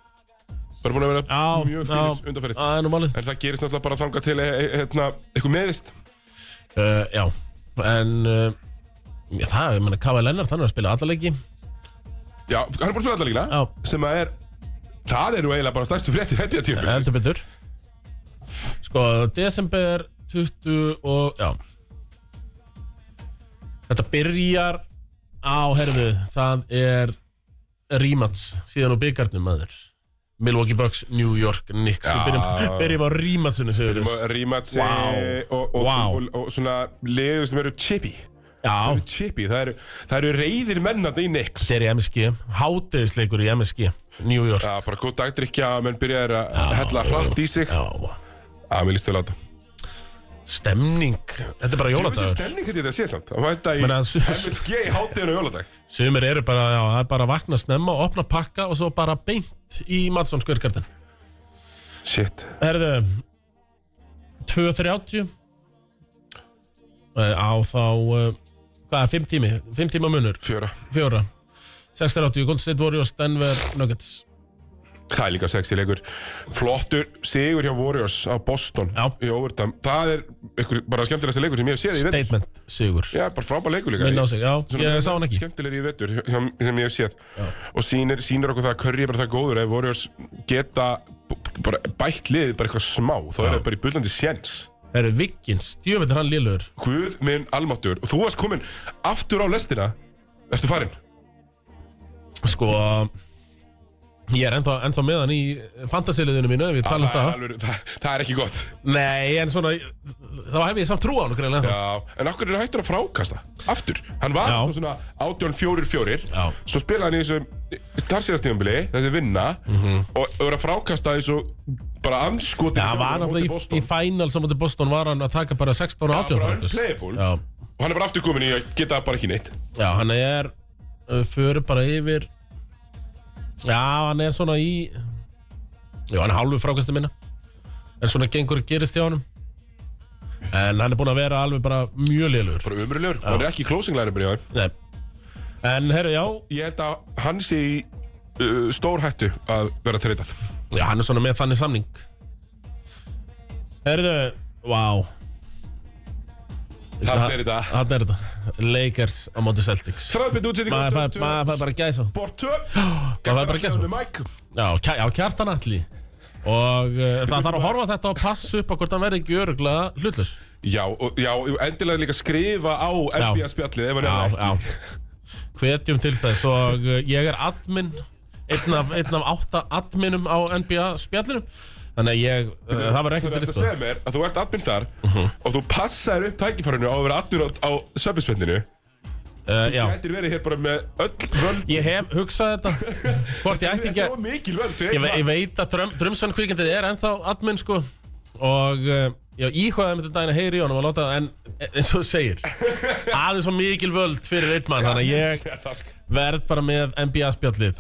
[SPEAKER 1] Bara búin að vera
[SPEAKER 2] já
[SPEAKER 1] mjög
[SPEAKER 2] já,
[SPEAKER 1] fyrir undanferðið
[SPEAKER 2] Það er nú málið
[SPEAKER 1] En það gerist náttúrulega bara þangað til eh, eh, hérna, eitthvað meðist
[SPEAKER 2] uh, Já, en uh, já, Það, ég menna, Kava Lennart, hann er að spila allaleiki
[SPEAKER 1] Já, hann er búin að spila alla líkina
[SPEAKER 2] Já,
[SPEAKER 1] sem að er það eru eiginlega bara stærstu fréttir hefðið að tíma
[SPEAKER 2] heldur betur Sko, desember 20 og, já Þetta byrjar á, herðu, það er Rímats síðan á byggarnum maður Milwaukee Bucks, New York, Knicks Við byrjum, byrjum á Rímatsinu byrjum
[SPEAKER 1] Rímatsi
[SPEAKER 2] Vá.
[SPEAKER 1] og, og,
[SPEAKER 2] Vá.
[SPEAKER 1] og, og, og svona liður sem eru chippy
[SPEAKER 2] Já,
[SPEAKER 1] chippy, það eru, það eru reyðir mennandi í Nix
[SPEAKER 2] þetta er í MSG Háteðisleikur í MSG, New York
[SPEAKER 1] Já, bara góð dagdrykja, menn byrjaðir að hella hratt í sig Já,
[SPEAKER 2] Já,
[SPEAKER 1] mér líst vel á þetta
[SPEAKER 2] stemning Þetta er bara
[SPEAKER 1] Þú veist
[SPEAKER 2] jóladagur
[SPEAKER 1] stemning hvernig þetta sé samt Það mæta í
[SPEAKER 2] Menna, s-
[SPEAKER 1] MSG í hátíðinu jóladag
[SPEAKER 2] Sumir eru bara, já, það er bara að vakna snemma Opna pakka og svo bara beint í Madsson skvörgartin
[SPEAKER 1] Shit
[SPEAKER 2] Herðu 2.30 Eh, á þá eh, hvað er 5 tími, 5 tíma munur
[SPEAKER 1] Fjöra
[SPEAKER 2] 4, 6.30 Gold State Warriors, Denver Nuggets
[SPEAKER 1] Það er líka sexy leikur Flottur sigur hjá Warriors á Boston
[SPEAKER 2] Já.
[SPEAKER 1] í overtime Það er ykkur, bara skemmtilegasti leikur sem ég hef séð í vetur
[SPEAKER 2] statement sigur,
[SPEAKER 1] Já, bara frábær leikur líka
[SPEAKER 2] minn á sig já, ég sá hann ekki
[SPEAKER 1] Skemmtilegri í vetur hjá- sem ég hef séð Og sýnir, sýnir okkur það að Curry er bara það góður Ef Warriors geta b- bara bætt liðið bara eitthvað smá Þá er það bara í bullandi séns
[SPEAKER 2] Herru, Vikins, djöfell er hann lélur
[SPEAKER 1] Guð minn almáttur Og þú varst komin aftur á lestina Ertu farinn?
[SPEAKER 2] sko Ég er ennþá, ennþá með hann í fantasiliðinu mínu ef ég tala
[SPEAKER 1] er
[SPEAKER 2] um það.
[SPEAKER 1] alveg- það, það er ekki gott
[SPEAKER 2] Nei, en svona, þá hef ég samt trú á hann okkur ennþá.
[SPEAKER 1] Já, en okkur er hann hættur að frákasta Aftur, hann var
[SPEAKER 2] Já.
[SPEAKER 1] þá svona 18-4-4
[SPEAKER 2] Já.
[SPEAKER 1] Svo spilaði hann í þessu Starsíðastíðanbili, þetta er vinna Og og er að frákasta þessu Bara anskotin
[SPEAKER 2] Mhm. Já, hann var náttúrulega í, í final sem átti Boston var hann að taka bara 16 og 18
[SPEAKER 1] bara
[SPEAKER 2] frákast.
[SPEAKER 1] unplayable.
[SPEAKER 2] Já,
[SPEAKER 1] Og hann er bara aftur komin í að geta bara ekki neitt
[SPEAKER 2] já, hann er uh, fyrir bara yfir Já, hann er svona í Já, hann er hálfu frákastu minna En svona gengur og gerist hjá hann En hann er búinn að vera alveg bara mjög lélur
[SPEAKER 1] Bara umrulegur, hann er ekki closinglæri bara í það
[SPEAKER 2] Nei En herru, já,
[SPEAKER 1] Ég held að hann sé í uh, stór hættu að vera treytað
[SPEAKER 2] já, hann er svona með þannig samning Herðu, vá
[SPEAKER 1] Þarna er þetta.
[SPEAKER 2] Hann er þetta Lakers á móti Celtics
[SPEAKER 1] Þræðbytt útsetting
[SPEAKER 2] Maður fær- maður fær bara gæsa
[SPEAKER 1] Bort
[SPEAKER 2] *gasps*
[SPEAKER 1] 2 Gæta
[SPEAKER 2] bara að gera svo.
[SPEAKER 1] Mike
[SPEAKER 2] Já, kja, já kjartan allir Og uh, það þarf að horfa á þetta og passa upp á hvort hann verði ekki öruglega hlutlaus
[SPEAKER 1] Já, og, já, og endilega líka skrifa á NBA spjallið ef hann er það ekki
[SPEAKER 2] Hvetjum til þess og uh, ég er admin Einn af, einn af átta adminum á NBA spjallinum Þannig að ég, uh, það var
[SPEAKER 1] Þú
[SPEAKER 2] ekkert Mhm.
[SPEAKER 1] ert að
[SPEAKER 2] dritt
[SPEAKER 1] segja mér að þú ert admin þar og þú passaðir upp tækifærinu á að vera admin á, á sveppisvendinu
[SPEAKER 2] uh, Já,
[SPEAKER 1] Gætir verið hér bara með öll völd
[SPEAKER 2] ég hef hugsað
[SPEAKER 1] *laughs*
[SPEAKER 2] þetta Hvort ég
[SPEAKER 1] Þetta
[SPEAKER 2] ætti ekki
[SPEAKER 1] var
[SPEAKER 2] að
[SPEAKER 1] mikil völd
[SPEAKER 2] Ég, ve ég veit að dröm, Drömsan kvikindið er ennþá admin sko og uh, já, íhugaði með þetta daginn að heyri í honum að láta en en- eins og þú segir aðeins var mikil völd fyrir einn mann þannig að ég
[SPEAKER 1] Þetta
[SPEAKER 2] verð bara með NBA spjallið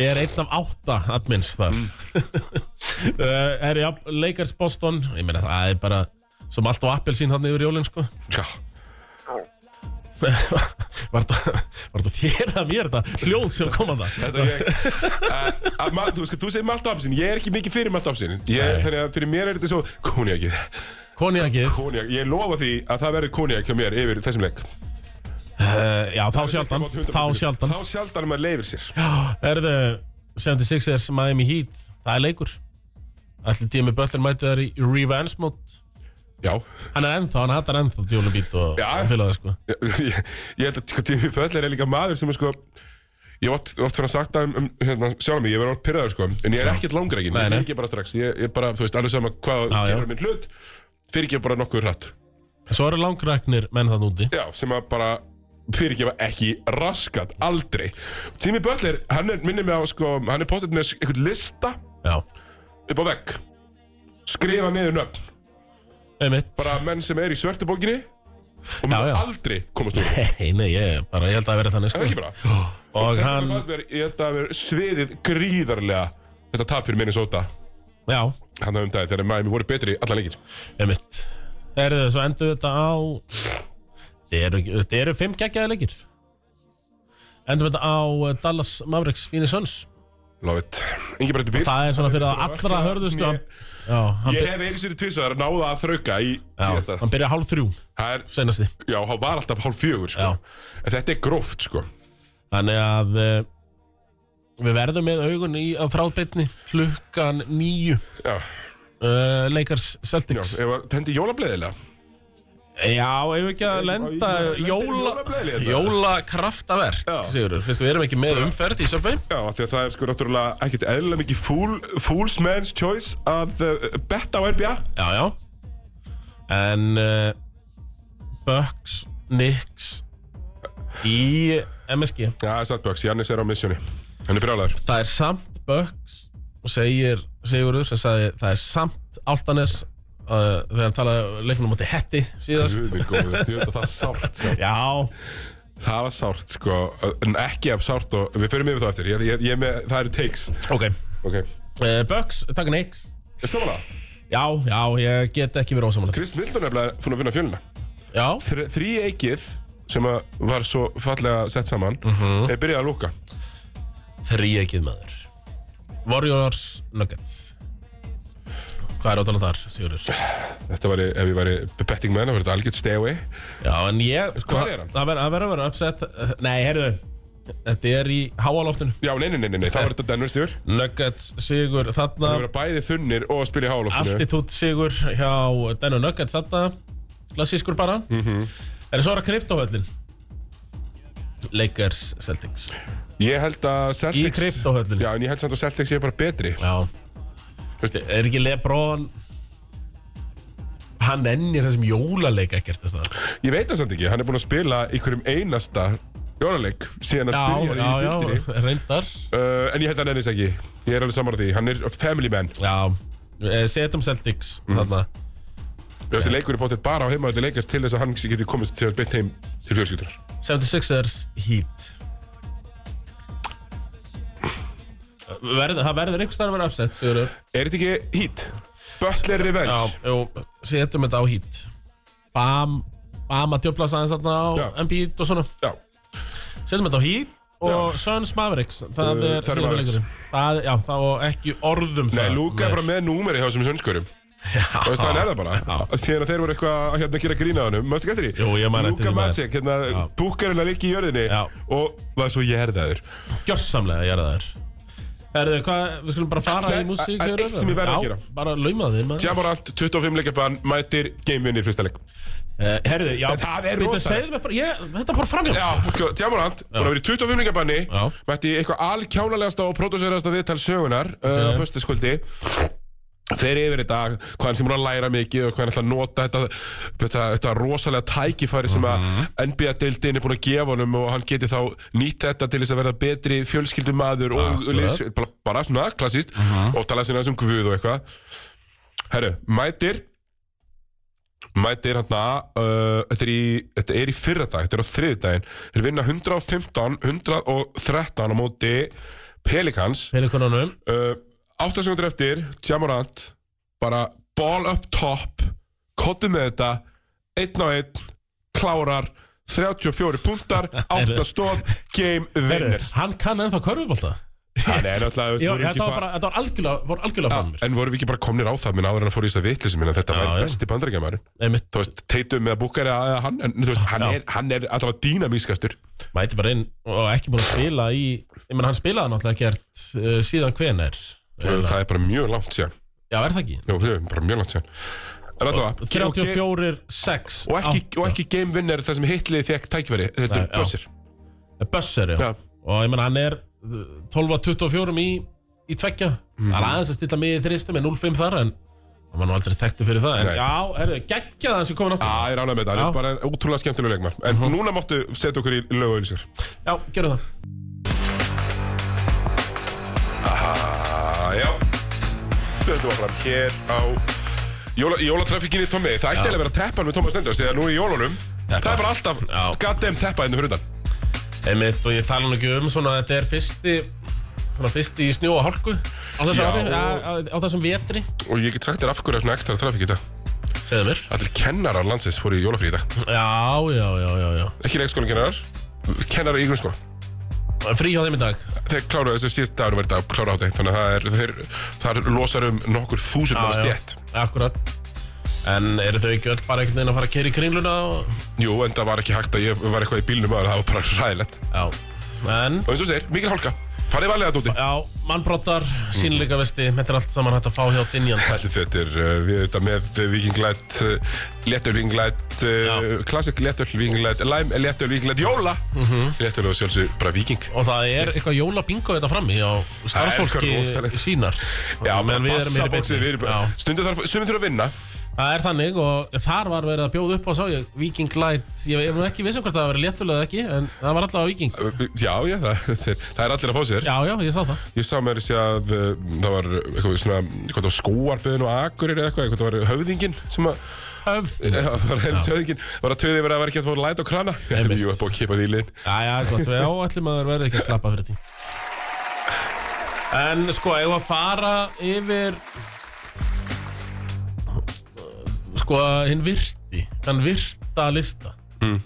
[SPEAKER 2] Ég er einn af átta admins þar *laughs* uh, er já, Lakers Boston ég meina það er bara sem allt á appelsín hann yfir jólinn sko *laughs* var þetta var þetta þér að mér þetta hljóð sem kom að það
[SPEAKER 1] er ég Eh, að ma- Þú veist, þú segir Malta Absin Ég er ekki mikið fyrir Malta Absin
[SPEAKER 2] Nei.
[SPEAKER 1] Þannig að fyrir mér er þetta svo Kóniakið
[SPEAKER 2] konjakið
[SPEAKER 1] Kóniak Ég lofa því að það verður kóniak hjá mér yfir þessum leik
[SPEAKER 2] uh, já, þá sjaldan þá sjaldan
[SPEAKER 1] Þá sjaldan að maður leifir sér
[SPEAKER 2] Erðu 76ers Miami Heat Það er leikur Allir tími Böllin mæti þær í revenge mode
[SPEAKER 1] Já *laughs*
[SPEAKER 2] Hann er ennþá, hann hattar ennþá Djóli Bít og
[SPEAKER 1] Já.
[SPEAKER 2] og félaga sko
[SPEAKER 1] ég, ég held að sko, Jimmy Butler er líka maður sem er sko Ég hef oft, oft svona sagt það um, um hérna, sjálf mig, ég verið oft pyrraður sko, en ég er ekkert langreikin,
[SPEAKER 2] Nei,
[SPEAKER 1] ég
[SPEAKER 2] nei.
[SPEAKER 1] fyrir ekki bara strax, ég, ég bara, þú veist, alveg sama hvað
[SPEAKER 2] Já, já.
[SPEAKER 1] gerur minn hlut, fyrir ekki bara nokkuð hratt.
[SPEAKER 2] En Svo eru langræknir menn það núti
[SPEAKER 1] Já, sem að bara fyrir ekki ekki raskat, aldrei. Jimmy Butler, hann er, minnir mig á sko, hann er pottet með eitthvað lista
[SPEAKER 2] Já
[SPEAKER 1] upp á vegg, skrifa niður nöfn,
[SPEAKER 2] Einmitt
[SPEAKER 1] bara menn sem er í svörtubókinni og
[SPEAKER 2] Já,
[SPEAKER 1] maður
[SPEAKER 2] já.
[SPEAKER 1] aldrei komast úr. því.
[SPEAKER 2] Hei, nei, ég bara, ég held að það verði þannig
[SPEAKER 1] Er
[SPEAKER 2] sko
[SPEAKER 1] það ekki bara?
[SPEAKER 2] Og
[SPEAKER 1] Þess
[SPEAKER 2] hann,
[SPEAKER 1] vegna fannst mér, ég held að það verið sviðið gríðarlega þetta tap fyrir Minnesota
[SPEAKER 2] já,
[SPEAKER 1] hann um daginn þegar Miami voru betri allan leikir
[SPEAKER 2] einmitt Erðu, svo endur þetta á Þetta eru, þetta eru fimm geggjaði leikir Endur þetta á eh, Dallas Mavericks Phoenix Suns
[SPEAKER 1] Love it Ingi brettu bíl
[SPEAKER 2] Það er svona fyrir það allra hörðustu hann- Já, hann,
[SPEAKER 1] Ég
[SPEAKER 2] byr,
[SPEAKER 1] hef einu sinni tvisar náða að þrauka í
[SPEAKER 2] já,
[SPEAKER 1] síðasta
[SPEAKER 2] hann byrja hálf þrjú
[SPEAKER 1] Það er,
[SPEAKER 2] senasti
[SPEAKER 1] já, hann var alltaf hálf fjögur sko.
[SPEAKER 2] Já.
[SPEAKER 1] En þetta er gróft sko
[SPEAKER 2] Þannig að eh, við verðum með augun í á þráðbeitni klukkan nýju
[SPEAKER 1] Já,
[SPEAKER 2] uh, leikars
[SPEAKER 1] já,
[SPEAKER 2] Celtics Já,
[SPEAKER 1] ef að tendi jólableðilega
[SPEAKER 2] ef ekki að lenda
[SPEAKER 1] Lendir í
[SPEAKER 2] jóla,
[SPEAKER 1] jólablaði þetta?
[SPEAKER 2] jólakraftaverk
[SPEAKER 1] Já.
[SPEAKER 2] Sigurður, finnst við erum ekki með umferð í söpvei
[SPEAKER 1] Já, af því að það er sko náttúrulega ekkert eðlilega mikið fool, fool's man's choice að uh, betta á NBA
[SPEAKER 2] Já, já En uh, Bucks, Knicks í MSG
[SPEAKER 1] Já, það er satt böks, Jannis er á missjóni Hann er brjálæður
[SPEAKER 2] það er samt Bucks og segir Sigurður sem sagði það er samt Altanes uh, þegar hann talaði leiknum átti Hetti síðast
[SPEAKER 1] Guð minn góður, þú veit að það er sárt sko.
[SPEAKER 2] Já,
[SPEAKER 1] Það var sárt sko, en ekki af sárt og við förum yfir það eftir, ég, ég, ég er með, það eru takes
[SPEAKER 2] ok
[SPEAKER 1] Ok,
[SPEAKER 2] uh, Bucks, takk Nix
[SPEAKER 1] er samanlega,
[SPEAKER 2] Já, já, ég get ekki verið ósamanlega
[SPEAKER 1] Chris Milton er bara fór að vinna fjölina
[SPEAKER 2] Já,
[SPEAKER 1] Þr, Þrý eikið sem að var svo fallega sett saman, er byrjað að lúka
[SPEAKER 2] þrý ekkið maður Warriors Nuggets Hvað er átalað þar, Sigurður?
[SPEAKER 1] Þetta væri, ef ég væri betting man, það var þetta algjört stay away
[SPEAKER 2] Já, en ég sko,
[SPEAKER 1] Hvar er hann?
[SPEAKER 2] Það verður að vera uppsett Nei, heyrðu Þetta er í háaloftinu
[SPEAKER 1] Já, nei, nei, nei, nei, nei það var þetta Denver stjórn
[SPEAKER 2] Nuggets, Sigur, þarna
[SPEAKER 1] Það voru bæði þunnir og að spila í hálóftinu
[SPEAKER 2] Altitude sigur hjá Denver Nuggets þetta klassískur bara en svo er það kryptohöllin Lakers Celtics
[SPEAKER 1] Ég held að Celtics
[SPEAKER 2] Í kryptóhöllinni.
[SPEAKER 1] Já, en ég held samt að Celtics sé bara betri
[SPEAKER 2] Já Vist, Er ekki Lebron Hann ennir þessum jólaleik ekkert er það
[SPEAKER 1] Ég veit það samt ekki, hann er búin að spila ykkurum einasta jólaleik síðan að
[SPEAKER 2] Já,
[SPEAKER 1] byrja
[SPEAKER 2] já,
[SPEAKER 1] í
[SPEAKER 2] já,
[SPEAKER 1] dildinni
[SPEAKER 2] reyndar
[SPEAKER 1] uh, En ég held að hann ennist ekki Ég er alveg samar því, hann er family man
[SPEAKER 2] Já, eh, setjum Celtics Þarna
[SPEAKER 1] Þessi leikur er bóttið bara á heimaðalli leikast til þess að hann geti komist til að beint heim til fjölskyldunar
[SPEAKER 2] 76ers Heat Verð, það verður einhvers staðar að vera upset Sigurður.
[SPEAKER 1] Er þetta ekki hít? Butler
[SPEAKER 2] Já,
[SPEAKER 1] Revenge
[SPEAKER 2] jú, setjum þetta á Heat Bam, Bam að djöfla sæðins þarna á
[SPEAKER 1] Já.
[SPEAKER 2] Embiid og svona
[SPEAKER 1] Já,
[SPEAKER 2] Setjum þetta á Heat og Suns Mavericks
[SPEAKER 1] Uh,
[SPEAKER 2] Það
[SPEAKER 1] það
[SPEAKER 2] er
[SPEAKER 1] er
[SPEAKER 2] síðasta
[SPEAKER 1] Mavericks.
[SPEAKER 2] leikurinn. það, Já, þá ekki orðum
[SPEAKER 1] Nei,
[SPEAKER 2] það
[SPEAKER 1] Luka er bara með númeri hjá þessum sönnskörum Það veist, hann er það bara Síðan að þeir voru eitthvað að hérna, gera grína á hann Mástu ekki eftir því?
[SPEAKER 2] Jú, ég man
[SPEAKER 1] Luka
[SPEAKER 2] eftir því, maður.
[SPEAKER 1] Magic, hérna, búkarinn að liggi í jörðinni
[SPEAKER 2] Já.
[SPEAKER 1] Og var svo jærðaður
[SPEAKER 2] Gjörsamlega, ég er það þær Herðu, hvað, við skulum bara fara
[SPEAKER 1] Nei,
[SPEAKER 2] í músík
[SPEAKER 1] það er
[SPEAKER 2] Sigurður?
[SPEAKER 1] eitt sem ég verð að
[SPEAKER 2] Já,
[SPEAKER 1] gera.
[SPEAKER 2] Bara lauma þig maður.
[SPEAKER 1] Tjamorant, 25 leikabann, mætir gamevinni í fyrsta leik
[SPEAKER 2] Eh, Herðu, já
[SPEAKER 1] Það er
[SPEAKER 2] bíddu,
[SPEAKER 1] rosalegt.
[SPEAKER 2] segðu mér frá- ég- Þetta fór framhjá mér.
[SPEAKER 1] Tjamorant, búin sko, að vera í 25 leikabanni
[SPEAKER 2] Já.
[SPEAKER 1] Mætti í eitthvað alkjánalegasta og pródúserasta viðtal sögunar uh, á Föstaskvöldi Fer yfir þetta, hvað hann sem búin að læra mikið og hvað hann ætla að nota þetta, þetta, þetta rosalega tækifæri sem að
[SPEAKER 2] Mhm.
[SPEAKER 1] NBA-deildin er búin að gefa honum og hann geti þá nýtt þetta til þess að verða betri fjölskyldumadur og
[SPEAKER 2] Akkurat. Mhm.
[SPEAKER 1] liðs, bara, bara svona klassist og tala sinna um guð og eitthvað Herru, mætir mætir hérna uh, þetta, er í, þetta er í fyrra dag, þetta er á þriði daginn þeir vinna 115, 113 á móti Pelikans
[SPEAKER 2] Fyrir konanum
[SPEAKER 1] uh, 8 sekundur eftir, Tjamorant bara ball up top kottu með þetta 1 á 1, klárar 34 punktar,
[SPEAKER 2] *laughs*
[SPEAKER 1] 8 stóð game
[SPEAKER 2] Herru,
[SPEAKER 1] winner
[SPEAKER 2] eh, hann kann ennþá körfubólta
[SPEAKER 1] hann er náttúrulega þú veist,
[SPEAKER 2] *laughs* Já,
[SPEAKER 1] voru ekki
[SPEAKER 2] þetta var
[SPEAKER 1] fara-
[SPEAKER 2] bara, þetta var algjörlega, voru algjörlega fram mér
[SPEAKER 1] en vorum við ekki bara komnir á það minn áður en að fór í þess að vitlis minn að þetta
[SPEAKER 2] Já,
[SPEAKER 1] væri
[SPEAKER 2] já.
[SPEAKER 1] besti bandarækjamaður
[SPEAKER 2] Einmitt,
[SPEAKER 1] þú veist, teitum með að búka er að hann, en þú veist, hann
[SPEAKER 2] Já.
[SPEAKER 1] er, hann er allavega dýnamískastur.
[SPEAKER 2] mæti bara inn og ekki búin að spila í Ég menn, hann spilaði náttúrulega gert uh, síðan hvenar
[SPEAKER 1] Það er bara mjög langt síðan.
[SPEAKER 2] Já, er það ekki?
[SPEAKER 1] Jú, það er bara mjög langt síðan. En allavega, og, ge-
[SPEAKER 2] 34, 6
[SPEAKER 1] og, ekki, og ekki game winner þar sem hitliði fekk tækveri, þetta
[SPEAKER 2] Nei,
[SPEAKER 1] er
[SPEAKER 2] já.
[SPEAKER 1] bussir.
[SPEAKER 2] Bössir, já
[SPEAKER 1] Já.
[SPEAKER 2] Og ég menn, hann er eh, 12-24 í, í tveggja
[SPEAKER 1] Mhm.
[SPEAKER 2] Það er aðeins að stilla mig í þristum með 0-5 þar En hann var nú aldrei þekktu fyrir það En
[SPEAKER 1] Nei.
[SPEAKER 2] já, er það geggjað að hann sem komin áttur
[SPEAKER 1] Það er ánægð með þetta, hann er bara en ótrúlega skemmtilega leikmar. En núna máttu setja okkur í lög og auðlýsingar.
[SPEAKER 2] Já, gerðu það
[SPEAKER 1] Ah, já. Við höldum áfram hér á jóla, jólatrafikkinni Tommi. Það ætti eiginlega að vera teppan með Tommi Stendur, þegar nú er í jólunum.
[SPEAKER 2] Teppa.
[SPEAKER 1] Það er bara alltaf
[SPEAKER 2] Já.
[SPEAKER 1] goddamn teppa hérna fyrir undan.
[SPEAKER 2] Einmitt, og ég tala nú ekki um svona að þetta er fyrsti svona fyrsti í snjó og hálku á þessu
[SPEAKER 1] Já.
[SPEAKER 2] ári, á, á, á þessum vetri
[SPEAKER 1] Og ég get sagt þér af hverju er svona ekstra trafík í dag.
[SPEAKER 2] segðu mér
[SPEAKER 1] Allir kennarar landsins fóru í jólafrí í dag.
[SPEAKER 2] já, já, já, já, já
[SPEAKER 1] Ekki leikskólan kennarar, kennarar í grunnskóla.
[SPEAKER 2] frí hjá þeim í dag
[SPEAKER 1] Þeir kláruðu þessi síðast dagur verið dag, klára á þeim. Þannig að það er, þeir, það er losar um nokkur þúsund mann stjætt.
[SPEAKER 2] akkurat en eru þau ekki öll bara einhvern veginn að fara að keira í kringluna og...
[SPEAKER 1] Jú, en það var ekki hægt að ég var eitthvað í bílnum aður, það var bara ræðilegt.
[SPEAKER 2] já en
[SPEAKER 1] Og eins og þú segir, mikil hálka. Farið varlega þetta úti.
[SPEAKER 2] já, mannbrottar,
[SPEAKER 1] Mm.
[SPEAKER 2] sínleika vesti þetta er allt saman hægt að fá hjá dinjan
[SPEAKER 1] *laughs* Þetta þetta er, uh, við þetta með vikinglætt, uh, léttöl vikinglætt, uh,
[SPEAKER 2] Já.
[SPEAKER 1] klassik léttöl vikinglætt, læm léttöl vikinglætt, jóla. Mm
[SPEAKER 2] Mhm.
[SPEAKER 1] -hmm. Léttöl og sjálfsög bara viking.
[SPEAKER 2] og það er eitthvað jólabingo þetta frammi hjá
[SPEAKER 1] eitthvað rosalegt.
[SPEAKER 2] starfsfólki sínar
[SPEAKER 1] Já,
[SPEAKER 2] Á meðan
[SPEAKER 1] bara
[SPEAKER 2] erum hér í
[SPEAKER 1] bassabóksið,
[SPEAKER 2] beinni.
[SPEAKER 1] við erum
[SPEAKER 2] Já.
[SPEAKER 1] bara, stundum þarf, sumir þurfa að vinna.
[SPEAKER 2] Það er þannig og þar var verið að bjóða upp á sá ég, Viking Light, ég er nú ekki viss um hvort það var léttulega eða ekki, en það var alltaf á Viking
[SPEAKER 1] Já, já, það, þeir, það er allir að fá sér.
[SPEAKER 2] Já, já, ég sá það
[SPEAKER 1] Ég sá mér þessi að uh, það var eitthvað svona, eitthvað á skóarböðin og akurir eða eitthvað, eitthvað það var höfðingin sem að,
[SPEAKER 2] Höf
[SPEAKER 1] eða var helst höfðingin, var að töði verið að vera ekki að fóra læt og krana.
[SPEAKER 2] Einmitt.
[SPEAKER 1] *laughs* Jú, það er búið að kipa því í liðin.
[SPEAKER 2] Já, já, gott, já, allir maður verið ekki að klappa fyrir því En sko, ef að fara yfir Sko, hinn virti, hann virta lista
[SPEAKER 1] Hmm.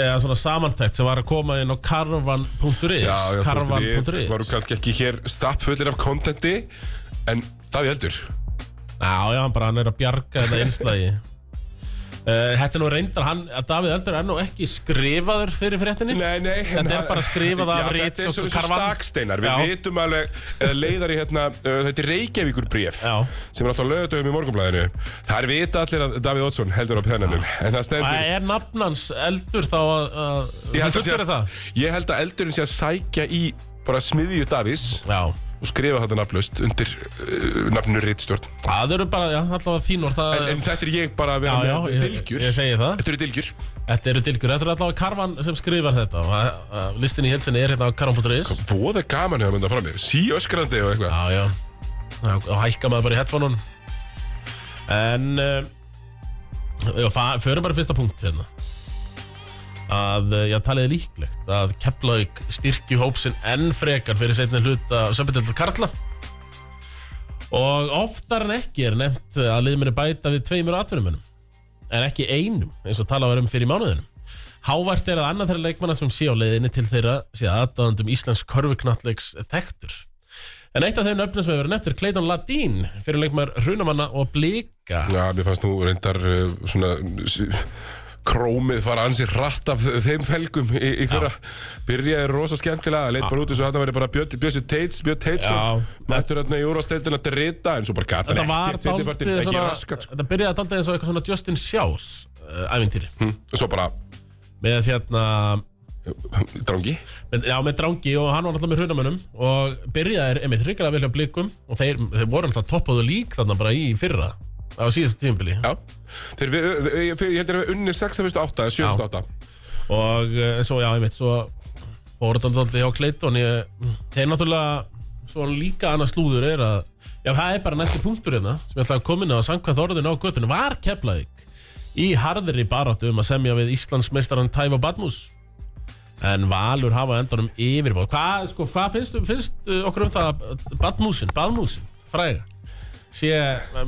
[SPEAKER 2] Eða svona samantækt sem var að koma inn á
[SPEAKER 1] Já,
[SPEAKER 2] karvan.is
[SPEAKER 1] já, þú veist,
[SPEAKER 2] Karvan.is
[SPEAKER 1] við varum kannski ekki hér stappfullir af kontenti, en Daví Eldur,
[SPEAKER 2] Já, já, hann bara hann er að bjarga þetta einslagi hérna Eh, Þetta er nú reyndar hann, að Davíð Eldur er nú ekki skrifaður fyrir fréttinni
[SPEAKER 1] Nei, nei hérna,
[SPEAKER 2] Þetta er bara skrifað af
[SPEAKER 1] Já,
[SPEAKER 2] rit
[SPEAKER 1] Þetta er
[SPEAKER 2] og
[SPEAKER 1] svona
[SPEAKER 2] karvan.
[SPEAKER 1] staksteinar Við
[SPEAKER 2] Já.
[SPEAKER 1] vitum alveg eða leiðar í hérna uh, Þetta er Reykjavíkur bréf
[SPEAKER 2] Já.
[SPEAKER 1] sem er alltaf lögutöfum í morgunblæðinu Það er vita allir að Davíð Oddsson heldur á pennanum en það
[SPEAKER 2] Og
[SPEAKER 1] stendur
[SPEAKER 2] Er nafnans Eldur þá að að-
[SPEAKER 1] Ég
[SPEAKER 2] Þú
[SPEAKER 1] held að sé-
[SPEAKER 2] fullur það?
[SPEAKER 1] Ég held að eldurinn sé að sækja í bara smiðju Davís
[SPEAKER 2] Já
[SPEAKER 1] og skrifa þetta nafnlaust undir uh, nafninu Ritstjórn
[SPEAKER 2] Það eru bara, já, allavega þínur það
[SPEAKER 1] en, en þetta er ég bara að vera
[SPEAKER 2] Já, já,
[SPEAKER 1] með
[SPEAKER 2] ég,
[SPEAKER 1] dilgjur
[SPEAKER 2] ég segi það
[SPEAKER 1] Þetta eru dilgjur
[SPEAKER 2] Þetta eru dilgur, þetta eru allavega Karvan sem skrifar þetta og að- að listin í helsinni er hérna á karvan.is
[SPEAKER 1] Voða gaman hefur myndað frá mér Sí öskrandi og eitthvað
[SPEAKER 2] Já, já Já, Og hækka maður bara í headphone-un En uh, Já, fa- förum bara í fyrsta punkt hérna Að uh, ég taliði líklegt Að Keflavík styrki hópsinn enn frekar Fyrir setni hluta Söpindel Karla Og oftar en ekki er nefnt Að liðum er bæta við tveimur atvinnumunum En ekki einum Eins og talað var um fyrir mánuðinum Hávært er að annað þeirra leikmanna sem sé á leiðinni til þeirra sé aðdáðandum Íslands körfuknattleiks þekktur. En eitt af þeim nöfnum sem hefur verið nefnt er Clayton Ladín fyrir leikmar Runamanna og Blika
[SPEAKER 1] Já, mér fannst nú reyndar uh, svona s- krómið fara ansi hratt af þeim felgum í, í fyrra byrjaði rosa skemmtilega, leit bara út eins og þetta væri bara Björn Bjössi Teits, Björn Teitsson
[SPEAKER 2] Já.
[SPEAKER 1] mættur þarna í úrvasteildin að drita en svo bara gata
[SPEAKER 2] Þetta var
[SPEAKER 1] ekkert seinni partinn,
[SPEAKER 2] daldið
[SPEAKER 1] ekki
[SPEAKER 2] svona
[SPEAKER 1] raskat sko.
[SPEAKER 2] Þetta byrjaði daldið eins og eitthvað svona Justin Sjás uh, ævintýri
[SPEAKER 1] Hm, svo bara,
[SPEAKER 2] með þérna
[SPEAKER 1] drangi
[SPEAKER 2] með, já, með drangi og hann var náttúrulega með hrunamönnum og byrjaði er einmitt hryggilega vilja blikum og þeir, þeir voru náttúrulega toppaðu lík þarna bara í fyrra á síðasta tímabili
[SPEAKER 1] Já, þeir við, við, við, ég held að við unni 6.8 eða 7.8
[SPEAKER 2] og eh, svo já, einmitt svo fór þetta alltaf hjá Clayton ég, þeir náttúrulega svo líka annað slúður er að já, það er bara næsti punktur hérna sem ég ætlaði að koma inn á að sangkvæð orðinu á göttunum var Keflavík í harðri baráttu um að semja við Íslandsmeistaran Tæfa Badmus en Valur hafa á endanum yfirbóð hvað sko, hva finnst, finnst eh, okkur um það að Badmusin, Badmusin, fræga sé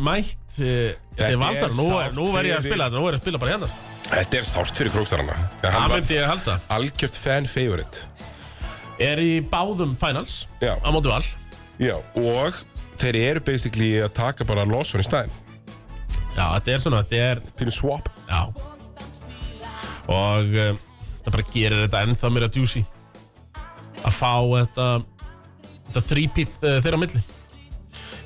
[SPEAKER 2] mætt eh,
[SPEAKER 1] Þetta
[SPEAKER 2] til valsar,
[SPEAKER 1] er
[SPEAKER 2] nú, er-
[SPEAKER 1] sárt
[SPEAKER 2] nú verð ég að
[SPEAKER 1] fyrir-
[SPEAKER 2] spila þetta, nú verð ég að spila bara hérna
[SPEAKER 1] Þetta er sárt fyrir krókstarana
[SPEAKER 2] það
[SPEAKER 1] Hann var
[SPEAKER 2] myndi ég að halda
[SPEAKER 1] algjört fan favorite
[SPEAKER 2] er í báðum finals
[SPEAKER 1] Já.
[SPEAKER 2] á móti val
[SPEAKER 1] Já, og þeir eru basically að taka bara Lawson í stæðin
[SPEAKER 2] já, þetta er svona, þetta er
[SPEAKER 1] Pínu swap
[SPEAKER 2] já. og um, það bara gerir þetta ennþá mér að djúsi að fá þetta þetta þrípít uh, þeirra á milli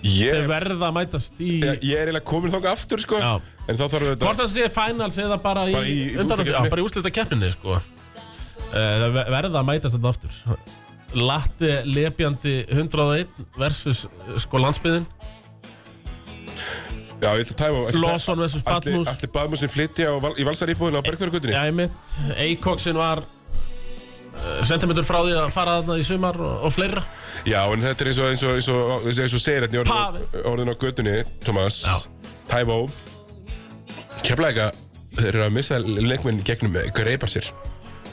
[SPEAKER 1] Ég,
[SPEAKER 2] þeir verða að mætast í
[SPEAKER 1] ég, ég er eiginlega komin þók aftur sko
[SPEAKER 2] Já.
[SPEAKER 1] En þá þarf þetta
[SPEAKER 2] hvort það sé finals eða bara í,
[SPEAKER 1] Bara í- í
[SPEAKER 2] undan-
[SPEAKER 1] úrslitakeppninni.
[SPEAKER 2] já, bara í úrslita keppninni sko. uh, það ver- verða að mætast þetta aftur Latti lepjandi 101 versus uh, sko landsbyðin
[SPEAKER 1] Já, ég ætla að tæma
[SPEAKER 2] Lawson versus Badmus. Eh,
[SPEAKER 1] Allir Badmusin flytja á, val- í valsaríbúðinu á Bergþörgutinni
[SPEAKER 2] Já, ég mitt, Eikoksin var uh, sentimentur frá því að fara þarna í sumar og, og fleira
[SPEAKER 1] Já, en þetta er eins og, eins og, eins og, eins og, eins og segir þetta í orðinu, orðinu á götunni Thomas
[SPEAKER 2] Já.
[SPEAKER 1] Tæmo Keflæka Þeir eru að missa leikminn gegnum greipa sér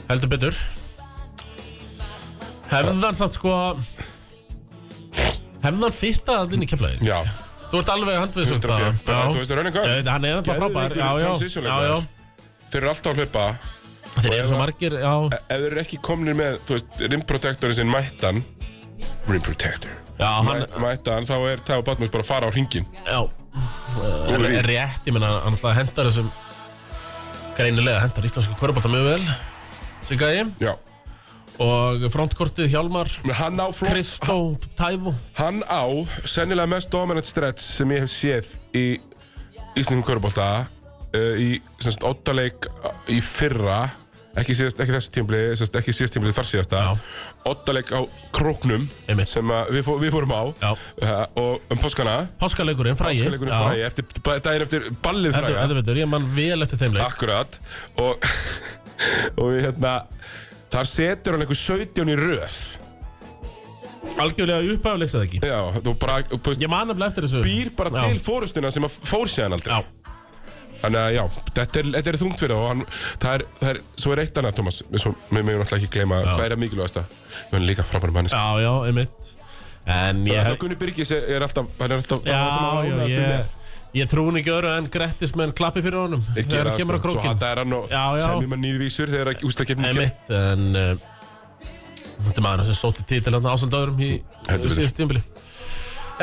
[SPEAKER 2] heldur betur hefðan samt sko hefðan fyrta allir inn í kemlaði
[SPEAKER 1] Já,
[SPEAKER 2] þú ert alveg um handvið svo
[SPEAKER 1] 100 pjö. Bara, þú veist, það er raunin hvað?
[SPEAKER 2] hann er alltaf
[SPEAKER 1] Gerðu
[SPEAKER 2] frábær
[SPEAKER 1] þig
[SPEAKER 2] já,
[SPEAKER 1] fyrir
[SPEAKER 2] já,
[SPEAKER 1] transition
[SPEAKER 2] já,
[SPEAKER 1] leikmaður.
[SPEAKER 2] já.
[SPEAKER 1] þeir eru alltaf að hlaupa E-
[SPEAKER 2] þeir eru svo margir já,
[SPEAKER 1] Ef þeir eru ekki komnir með, þú veist, rimprotectorin sinn mættan Rimprotector
[SPEAKER 2] já, hann,
[SPEAKER 1] Mæ- Mættan, þá er Tæmo Badmus bara að fara á hringin
[SPEAKER 2] já
[SPEAKER 1] Góður
[SPEAKER 2] hann
[SPEAKER 1] í.
[SPEAKER 2] er rétt, ég menna hann alltaf hendar þessum greinilega hendar íslensku kvörbólta mjög vel sem gæði
[SPEAKER 1] Já,
[SPEAKER 2] og frontkortið Hjálmar
[SPEAKER 1] Men hann á flott
[SPEAKER 2] Kristó Tævo
[SPEAKER 1] Hann á sennilega mest dominant stretch sem ég hef séð í Íslandum Körbólta uh, í semst ottaleik eh, í fyrra ekki, síðast, ekki þessi tímbli, semst, ekki síðast tímbli þar síðasta
[SPEAKER 2] Já.
[SPEAKER 1] ottaleik á króknum
[SPEAKER 2] Einmitt.
[SPEAKER 1] sem að við, fó, við fórum á
[SPEAKER 2] Já.
[SPEAKER 1] uh, og um páskana
[SPEAKER 2] Páskaleikurinn frægi
[SPEAKER 1] páskaleikunum
[SPEAKER 2] Já.
[SPEAKER 1] fræði eftir, ba- daginn eftir ballið
[SPEAKER 2] Heldur-
[SPEAKER 1] fræða
[SPEAKER 2] heldur betur, ég man vel eftir þeim leik
[SPEAKER 1] akkurat og, *laughs* og við hérna þar setur hann einhver 17 í röð
[SPEAKER 2] Algjörlega upphæðu leikst það ekki
[SPEAKER 1] já, þú bara þú veist,
[SPEAKER 2] Ég man nefnilega eftir þessu
[SPEAKER 1] býr bara
[SPEAKER 2] Já.
[SPEAKER 1] til fórustuna sem að fór séðan aldrei
[SPEAKER 2] Já,
[SPEAKER 1] Þannig að já, þetta er, þetta er þungt fyrir þá og hann, það er, það er, svo er eitt annað, Thomas, svo, mér meðum náttúrulega ekki gleyma, hvað er að mikilvægasta? Ég hann líka frábærum mannis.
[SPEAKER 2] já, já, einmitt En
[SPEAKER 1] Það
[SPEAKER 2] ég
[SPEAKER 1] er það Gunni Birgis er, er alltaf, hann er alltaf, það er það sem
[SPEAKER 2] Já,
[SPEAKER 1] hann
[SPEAKER 2] já,
[SPEAKER 1] ánægast um með.
[SPEAKER 2] ég Ég trúin ekki öru en grettismenn klappi fyrir honum
[SPEAKER 1] Þeir
[SPEAKER 2] Þegar
[SPEAKER 1] gera
[SPEAKER 2] hann kemur á
[SPEAKER 1] sko, Svo
[SPEAKER 2] krókin
[SPEAKER 1] hann er hann og
[SPEAKER 2] Já, já.
[SPEAKER 1] semjum að nýðvísur þegar að úsla kemur ekki.
[SPEAKER 2] Einmitt, en uh, Þetta er maður sem sótti titil hann ásand öðrum í
[SPEAKER 1] Heldur betur.
[SPEAKER 2] síðust tímbili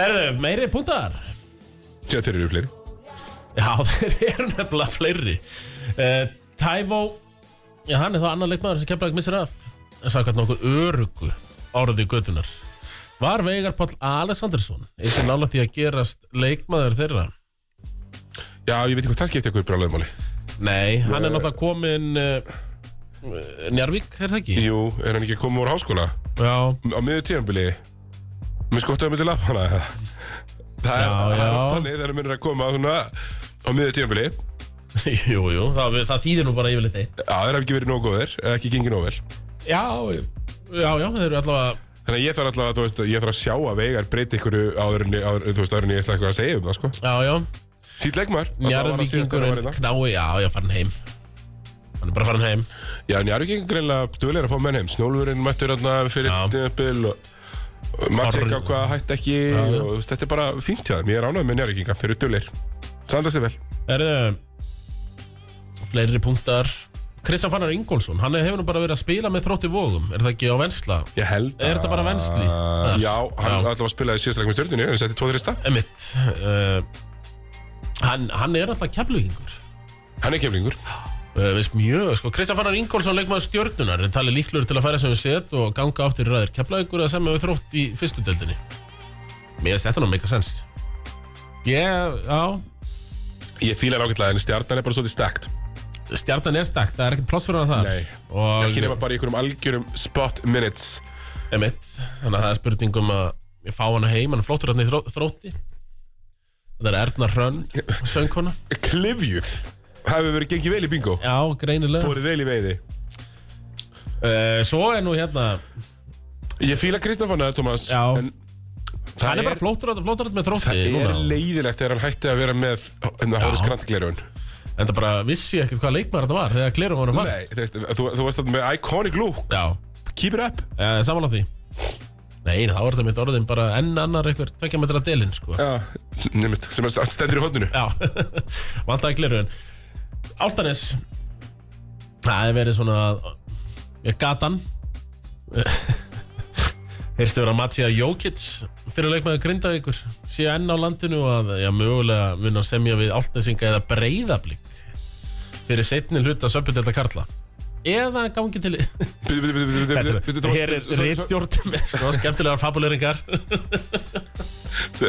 [SPEAKER 2] Erðu, meiri púntar
[SPEAKER 1] Já, þeir eru fleiri.
[SPEAKER 2] Já, *laughs* þeir eru nefnilega fleiri uh, Tævó Já, hann er þá annar leikmaður sem kemlaði missir af en sagði hvernig nokkuð örugu orðið götunar Var Veigar Páll Alessandarsson eitthvað nála því að gerast leikmaður þeirra
[SPEAKER 1] Já, ég veit ekki hvað það skipti ykkur brálaðmáli
[SPEAKER 2] Nei, hann er náttúrulega kominn uh, Njarvík, er það ekki?
[SPEAKER 1] Jú, er hann ekki komið úr háskóla
[SPEAKER 2] Já, *laughs*
[SPEAKER 1] á miður tíðanbili með skottaðum til lappana eða? það er,
[SPEAKER 2] Já,
[SPEAKER 1] það er
[SPEAKER 2] já.
[SPEAKER 1] oft þannig þegar minnir að koma svona, á miður tíðanbili
[SPEAKER 2] jú, jú, það, það þýðir nú bara yfirleitt eitt
[SPEAKER 1] Já, þeir hafa ekki verið nógu góðir, eða ekki gengið nógu vel
[SPEAKER 2] Já, já, já, þeir eru allavega
[SPEAKER 1] Þannig að ég þarf alltaf að, þú veist, ég þarf að sjá að Veigar breyti ykkur áður en, áður, þú veist, áður en ég ætla eitthvað að segja um það, sko.
[SPEAKER 2] Já, já,
[SPEAKER 1] Fýll leikmaður. alltaf var hann síðast þegar hann var
[SPEAKER 2] Njarvíkingurinn
[SPEAKER 1] hérna.
[SPEAKER 2] knái Já, já, farin heim Hann er bara farin heim
[SPEAKER 1] Já, Njarvíkingur greinlega duðlega að fá menn heim. Snjólfurinn mættur hérna fyrir
[SPEAKER 2] Já.
[SPEAKER 1] tímabil og Matsek
[SPEAKER 2] Orri.
[SPEAKER 1] á hvað hætt ekki og þú veist, þetta er bara fínt hjá þeim. Ég er ánægð með Njarvíkinga, þeir eru duðlegir. Sandra sér vel.
[SPEAKER 2] Erðu Fleiri punktar Kristján Fannar Ingólfsson, hann hefur nú bara verið að spila með þrótti vóðum, er það ekki á vensla?
[SPEAKER 1] Ég held
[SPEAKER 2] Er þetta bara vensli?
[SPEAKER 1] Ah, Já, hann
[SPEAKER 2] Já.
[SPEAKER 1] alltaf að spila í síðast leikum í stjórninu, hann setti 2-3 stað.
[SPEAKER 2] Emitt uh, Ah, hann, hann er alltaf keflugingur
[SPEAKER 1] Hann er kemlingur.
[SPEAKER 2] uh, veist mjög, sko, Kristján Fannar Ingólfsson leikmaður stjörnunar, er talið líklur til að færa sem við set og ganga aftur í ræðir keflugingur að semja við þrótt í fyrstu deildinni Mér er þetta nú meika sens Ég, já
[SPEAKER 1] Ég fíla hann ágætlega, en stjarnan er bara svolítið stækt.
[SPEAKER 2] Stjarnan er stakk, það er ekkert pláss fyrir hann þar
[SPEAKER 1] Nei.
[SPEAKER 2] og,
[SPEAKER 1] Ekki nema bara í einhverjum algjörum spot minutes.
[SPEAKER 2] Emitt, þannig að það er spurning um að ég fá hana heim, hann er flottur hann í þró- þrótti Þetta er Erna Hrönn, söngkona
[SPEAKER 1] klifjuð hafi verið gengið vel í bingo
[SPEAKER 2] Já, greinilega
[SPEAKER 1] Borið vel í veiði
[SPEAKER 2] uh, Svo er nú hérna,
[SPEAKER 1] Ég fíla Kristofanar, Thomas
[SPEAKER 2] Já.
[SPEAKER 1] En það
[SPEAKER 2] hann er bara flottur hann flottur hann með þrótti
[SPEAKER 1] Það er
[SPEAKER 2] núna.
[SPEAKER 1] leiðilegt þegar hann hætti að vera með hérna, En það hóðis grantglerun
[SPEAKER 2] En það bara vissi ég ekkert hvað leikmaður þetta var þegar Klerum var að fara
[SPEAKER 1] Nei, þú veist, þú, þú varst þarna með iconic look
[SPEAKER 2] Já,
[SPEAKER 1] Keep it up
[SPEAKER 2] uh, samanlega því Nei, þá er þetta mitt orðin bara enn annar einhver tvekja metra delinn, sko
[SPEAKER 1] Já, nefnt, sem að st- stendur í hodninu
[SPEAKER 2] Já, vantaði Klerum Álstanes Það er verið svona Ég gata hann Heyrstu vera Matija Jókits fyrir leikmaður Grindavíkur sé enn á landinu og að já, mögulega mun að semja við Áltnesinga eða Breiðablík fyrir setni hluta söpjöldelda Karla eða gangi til
[SPEAKER 1] Bíddu, bíddu, bíddu, bíddu,
[SPEAKER 2] Þetta
[SPEAKER 1] bíddu,
[SPEAKER 2] er-
[SPEAKER 1] bíddu, Thomas,
[SPEAKER 2] Hér er
[SPEAKER 1] svo- svo-
[SPEAKER 2] reitstjórn með sko, skemmtilegar fabuleringar
[SPEAKER 1] svo-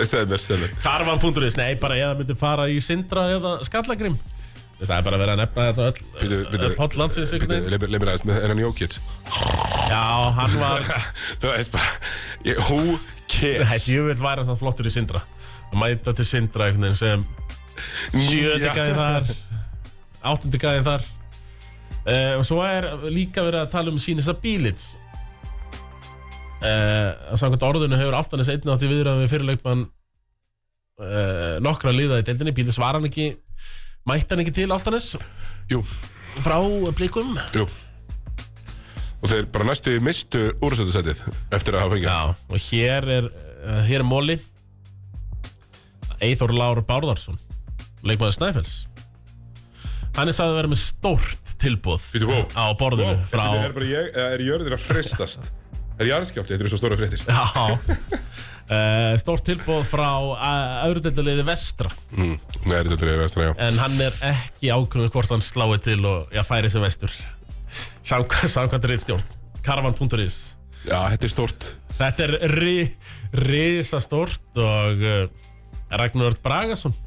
[SPEAKER 1] Segðu mér, segðu mér
[SPEAKER 2] Karvan.is, nei bara eða myndi fara í Sindra eða Skallagrim Þess, Það er bara verið að nefna þetta
[SPEAKER 1] Bíddu,
[SPEAKER 2] öll
[SPEAKER 1] bíddu,
[SPEAKER 2] öll hóll landsins einhvern veginn.
[SPEAKER 1] bíddu, leið mér- leið mér aðeins með ennan Jókits *laughs*
[SPEAKER 2] Já, hann var
[SPEAKER 1] Það er bara, ég- who cares
[SPEAKER 2] Ég vil væra svona flottur í Sindra að mæta til Sindra einhvern veginn sem sjöndi
[SPEAKER 1] Já.
[SPEAKER 2] gæðin þar áttundi gæðin þar uh, og svo er líka verið að tala um sínisa bílits uh, samkvæmt orðinu hefur Altanes einn átti viðræðum við fyrirleikmann uh, nokkra liða í deildinni bílits var hann ekki mætti hann ekki til Altanes
[SPEAKER 1] Jú,
[SPEAKER 2] frá blikum
[SPEAKER 1] Jú Og þeir bara næstu mistu úrsættisætið eftir að hafa fengið
[SPEAKER 2] Já, og hér er uh, hér er móli Eithor Lár Bárðarsson leikmaður Snæfells hann er sagði að vera með stórt tilbúð
[SPEAKER 1] Bíddu, wow.
[SPEAKER 2] á borðinu
[SPEAKER 1] Ó,
[SPEAKER 2] frá,
[SPEAKER 1] Er, bara ég, eða er jörðin að hristast? Er jarðskjálfti? Þetta eru svo stóra
[SPEAKER 2] *laughs*
[SPEAKER 1] fréttir
[SPEAKER 2] já, uh, stórt tilbúð frá uh, öðrudendaliði Vestra
[SPEAKER 1] mm. Nei, þetta er þetta vestra, já
[SPEAKER 2] en hann er ekki ákveðin hvort hann slái til og já, færi sem vestur samkvæmt, samkvæmt reyndstjórn karvan.is
[SPEAKER 1] Já, þetta er stórt
[SPEAKER 2] þetta er ri, risastórt og uh, Ragnar Örn Bragason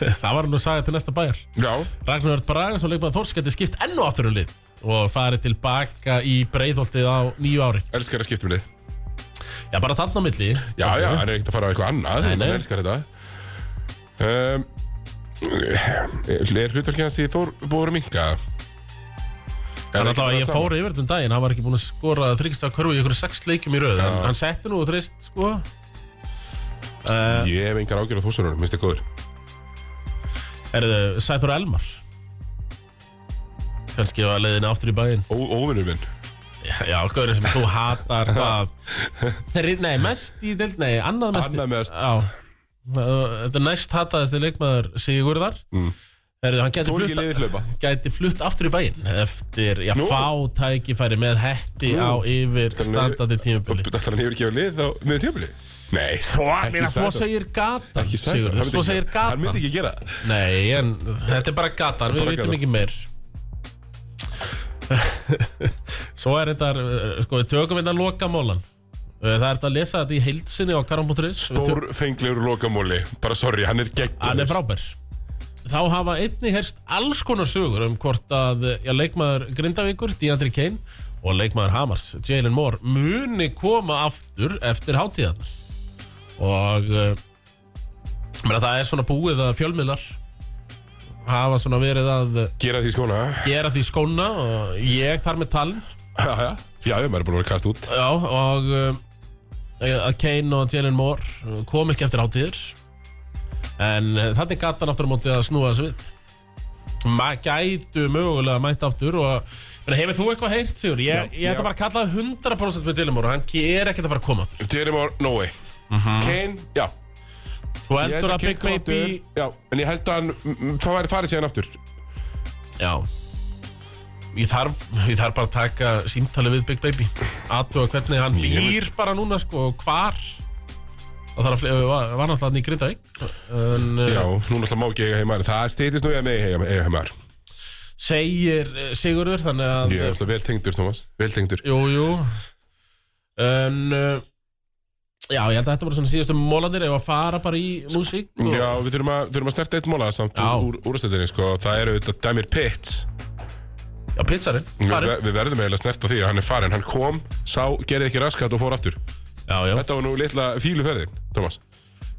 [SPEAKER 2] *laughs* það var nú saga til næsta bæjar
[SPEAKER 1] Já,
[SPEAKER 2] Ragnar Örn Bragason leikmaður Þórs geti skipt enn og aftur um lið og farið tilbaka í breiðholtið á nýju ári
[SPEAKER 1] elskar að skipta um lið
[SPEAKER 2] já bara þarna á milli
[SPEAKER 1] Já, já, hann er ekkert að fara á eitthvað annað
[SPEAKER 2] Nei,
[SPEAKER 1] Nei,
[SPEAKER 2] nei.
[SPEAKER 1] elskar þetta um, Er hlutverkið hans í Þór búið að vera minka?
[SPEAKER 2] Hann alltaf að ég fór yfir þetta um daginn, hann var ekki búin að skora þryggsta körfu í ykkur sex leikjum í röð en hann setti nú og trist sko
[SPEAKER 1] Ég hef engar ágjörð á þúsunum, minnst þið góður
[SPEAKER 2] er þau Sæþór Elmar kannski var leiðin aftur í bæinn
[SPEAKER 1] Ó, Óvinnur minn
[SPEAKER 2] já, gaurinn sem þú
[SPEAKER 1] *laughs*
[SPEAKER 2] hatar hvað þeirri, nei, mest í deild, nei, annað mest
[SPEAKER 1] Annað mest.
[SPEAKER 2] já Uh, þetta er næst hataðasti leikmaður Sigurðar mm. Heru, hann gæti
[SPEAKER 1] Þú er ekki
[SPEAKER 2] flutt,
[SPEAKER 1] liðið hlaupa
[SPEAKER 2] gæti flutt aftur í bæinn eftir, já,
[SPEAKER 1] Nú.
[SPEAKER 2] fá tækifæri með hetti
[SPEAKER 1] Nú.
[SPEAKER 2] á yfir
[SPEAKER 1] Þannig-
[SPEAKER 2] standandi tímubili
[SPEAKER 1] Þannig að hann hefur ekki á lið á miður tímabili Nei,
[SPEAKER 2] Ég meina, Svo
[SPEAKER 1] Sædór.
[SPEAKER 2] segir gatan
[SPEAKER 1] Ekki Sæþór,
[SPEAKER 2] Sigurður,
[SPEAKER 1] hann myndi
[SPEAKER 2] Svo
[SPEAKER 1] ekki
[SPEAKER 2] segir
[SPEAKER 1] gera- Hann
[SPEAKER 2] gatan
[SPEAKER 1] myndi ekki gera það.
[SPEAKER 2] Nei, en þetta er bara gatan, við
[SPEAKER 1] Bara
[SPEAKER 2] vitum
[SPEAKER 1] gatan.
[SPEAKER 2] ekki *laughs* meir Svo er þetta, uh, sko, við tökum þetta lokamólan Uh, Það er þetta að lesa þetta í heildsinni á karam.is Við tö-
[SPEAKER 1] Stórfenglegur lokamóli Bara sorry, hann er geggjur
[SPEAKER 2] Hann er frábær Þá hafa einnig herst alls konar sögur um hvort að já, leikmaður Grindavíkur, Diandri Kane og leikmaður Hamars, Jalen Moore muni koma aftur eftir hátíðarnar og uh, meina, það er svona búið að fjölmiðlar hafa svona verið að
[SPEAKER 1] Gera því skóna
[SPEAKER 2] gera því skóna og ég þar með talin
[SPEAKER 1] Já, já, já, maður er búin að vera kast út
[SPEAKER 2] já, og uh, að Kane og Jalen Moore kom ekki eftir hátíðir en uh, þannig gata hann aftur á móti að snúa þessu við maður gætu mögulega mætt aftur og en hefur þú eitthvað heyrt Sigur? Ég,
[SPEAKER 1] Já,
[SPEAKER 2] ég ætla
[SPEAKER 1] já.
[SPEAKER 2] bara að kalla 100% með Jalen Moore, hann er ekkert að fara að koma aftur.
[SPEAKER 1] Jeremor, no way Kane, já
[SPEAKER 2] þú
[SPEAKER 1] Ég held
[SPEAKER 2] heldur Mhm. að
[SPEAKER 1] Kane
[SPEAKER 2] Big
[SPEAKER 1] komi
[SPEAKER 2] Baby
[SPEAKER 1] aftur, Já, en ég held að hann mm, mm, Það væri farið síðan aftur
[SPEAKER 2] já Ég þarf, ég þarf bara að taka símtali við Big Baby Aðtuga hvernig hann
[SPEAKER 1] Ég veit-
[SPEAKER 2] býr bara núna sko og Hvar Það þarf að fle- var var náttúrulega hann í Grindavík en, uh,
[SPEAKER 1] Já, núna alltaf má ekki eiga heimar Það steytist nú ég að mig eiga eiga heimar
[SPEAKER 2] segir eh, Sigurður þannig að
[SPEAKER 1] Ég er alltaf vel tengdur, Thomas Vel tengdur
[SPEAKER 2] jú, jú en uh, já, ég held að þetta voru svona síðustu mólandir ef að fara bara í músík og-
[SPEAKER 1] Já, við þurfum að, þurfum að snerta eitt móla samt
[SPEAKER 2] Sko- Já.
[SPEAKER 1] úr, úr úrstöldinni sko. Það eru auðvitað Damir Pitts
[SPEAKER 2] já pizzarinn,
[SPEAKER 1] við,
[SPEAKER 2] farinn.
[SPEAKER 1] við verðum eiginlega snert á því að hann er farin Hann kom, sá, gerði ekki raskat og fór aftur
[SPEAKER 2] já, já,
[SPEAKER 1] Þetta var nú litla fíluferðin, Thomas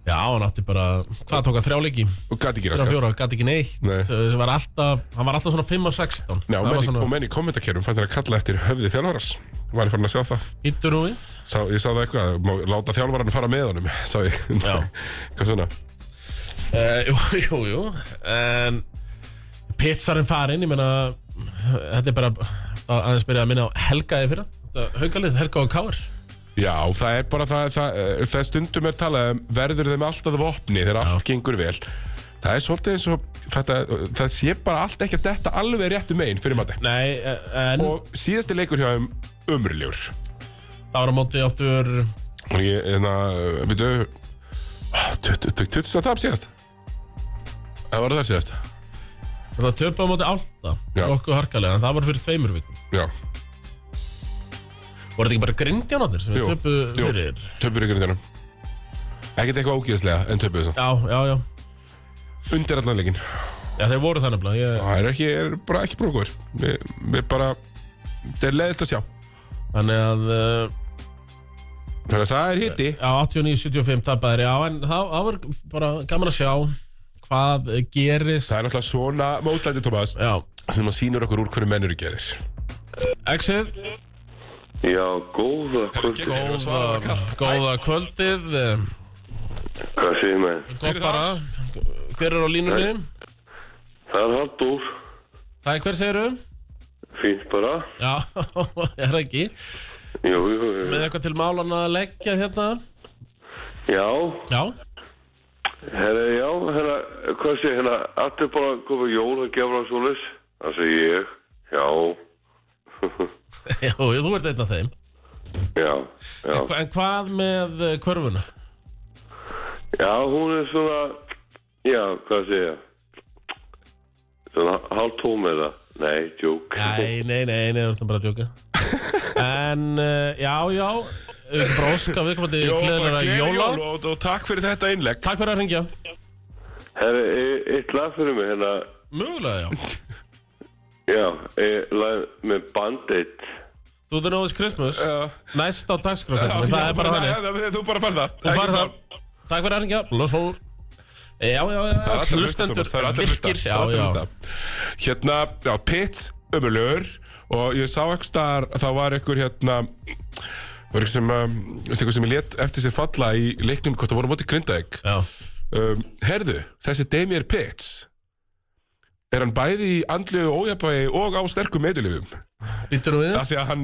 [SPEAKER 2] já, hann átti bara hvað tók að þrjá leiki,
[SPEAKER 1] Og gæti ekki
[SPEAKER 2] þrjá
[SPEAKER 1] raskat
[SPEAKER 2] fjóra, gæti ekki neitt
[SPEAKER 1] Nei.
[SPEAKER 2] Þessi var alltaf, hann var alltaf svona 5 og 16
[SPEAKER 1] Já, og menn,
[SPEAKER 2] það var
[SPEAKER 1] svona... og
[SPEAKER 2] svona,
[SPEAKER 1] menn í kommentarkerfum fann hann að kalla eftir höfði þjálfarans Var ég farin að sjá það
[SPEAKER 2] hittur nú við
[SPEAKER 1] sá, Ég sá það eitthvað, má láta þjálfaran fara með honum *laughs* Sá ég
[SPEAKER 2] Já.
[SPEAKER 1] Hvað svona?
[SPEAKER 2] Uh, *laughs* jú, jú, jú En Pizzarinn farinn, ég meina Þetta er bara að- aðeins byrja að minna á helgaði fyrra Þetta haukalið, helga og káar
[SPEAKER 1] Já, það er bara það, það, eh, það, það stundum er talað um Verður þeim alltaf vopni þegar allt gengur vel Það er svolítið eins og þetta, Það sé bara allt ekki að detta alveg réttu megin fyrir mati
[SPEAKER 2] Nei, eh, en
[SPEAKER 1] Og síðasti leikur hjá þeim umrljúr
[SPEAKER 2] það var á móti áttur
[SPEAKER 1] Og ég, en að, hérna, veitu Tökk 20 tap síðast Það var það síðast
[SPEAKER 2] Það töpa á móti álta
[SPEAKER 1] Já.
[SPEAKER 2] Okkur harkalega, en það var fyrir tveimur vikum
[SPEAKER 1] Já,
[SPEAKER 2] Voru þetta ekki bara grindjánáttir sem við
[SPEAKER 1] Jú,
[SPEAKER 2] töpu
[SPEAKER 1] jú.
[SPEAKER 2] fyrir
[SPEAKER 1] töpur ykkur í þennum Ekkert eitthvað ógeðslega en töpuðu þess
[SPEAKER 2] Já, já, já
[SPEAKER 1] að Undir allan leikin
[SPEAKER 2] Já, þeir voru það nefnilega ég,
[SPEAKER 1] Það er ekki, er bara ekki brókur Við, við bara Það er leiðist að sjá
[SPEAKER 2] Þannig að uh,
[SPEAKER 1] Þannig að það er hitti
[SPEAKER 2] Já, 89-75 tapaðir Já, en það, það var bara gaman að sjá Hvað gerist
[SPEAKER 1] Það er náttúrulega svona mótlæti, Tómas
[SPEAKER 2] Já,
[SPEAKER 1] Sem að sýnur okkur úr hverju menn eru gerir
[SPEAKER 2] Exit
[SPEAKER 4] Já, góða kvöldi.
[SPEAKER 1] geggjað. Erum við að svara
[SPEAKER 2] Góða,
[SPEAKER 1] kallt?
[SPEAKER 2] góða kvöldið eh,
[SPEAKER 4] Hvað segir maður?
[SPEAKER 1] Hver
[SPEAKER 2] Gott
[SPEAKER 1] er
[SPEAKER 2] bara Hver er á línunni?
[SPEAKER 4] Það er Halldór.
[SPEAKER 2] Það er hver segirum?
[SPEAKER 4] Fínt bara.
[SPEAKER 2] Já, *laughs* er það ekki
[SPEAKER 4] Jú, jú, jú.
[SPEAKER 2] Með eitthvað til málan að leggja hérna
[SPEAKER 4] Já,
[SPEAKER 2] Já,
[SPEAKER 4] herra, já, herra, hvað segir hérna? Allt er bara komið jól að gefa hann svolis. Það segir ég. Já, *laughs*
[SPEAKER 2] Jú, jú, þú ert einn af þeim
[SPEAKER 4] já, já.
[SPEAKER 2] Hva- En hvað með eh, körfuna?
[SPEAKER 4] Já, hún er svona, já, hvað segir ég? Svona hálftóm eða? Nei, djók.
[SPEAKER 2] Nei, nei, nei, nei, það er bara að djóka En, eh, já, já eh, Bróska viðkomandi gleðilega jóla
[SPEAKER 1] jól og, og takk fyrir þetta innlegg
[SPEAKER 2] Takk fyrir að hringja
[SPEAKER 4] Herra, e- eitt lag fyrir mig hérna.
[SPEAKER 2] Mögulega, já
[SPEAKER 4] Já, e- lag með Band-Aid.
[SPEAKER 2] Þú þurfum að Christmas
[SPEAKER 1] Já.
[SPEAKER 2] Næst á dagskrafstöfnum Það er bara þannig
[SPEAKER 1] það Þú bara fann það
[SPEAKER 2] Þú
[SPEAKER 1] Ekki
[SPEAKER 2] farið
[SPEAKER 1] mál.
[SPEAKER 2] það Takk fyrir að hringja Lósóður Já, já,
[SPEAKER 1] Það er
[SPEAKER 2] já
[SPEAKER 1] alltaf
[SPEAKER 2] Hlustendur
[SPEAKER 1] það er alltaf
[SPEAKER 2] virkir Já,
[SPEAKER 1] það er
[SPEAKER 2] já
[SPEAKER 1] alltaf Hérna, já, Pitt, ömulur og ég sá eitthvað staðar, það var einhver hérna var eitthvað sem, um, eitthvað sem ég let eftir sér falla í leiknum, hvort það voru á móti Grindavík
[SPEAKER 2] Já,
[SPEAKER 1] um, Herðu, þessi Damir Pitts er hann bæði í andlu ójafnvægi og á sterkum meðlifum
[SPEAKER 2] býttu nú við
[SPEAKER 1] af því að hann,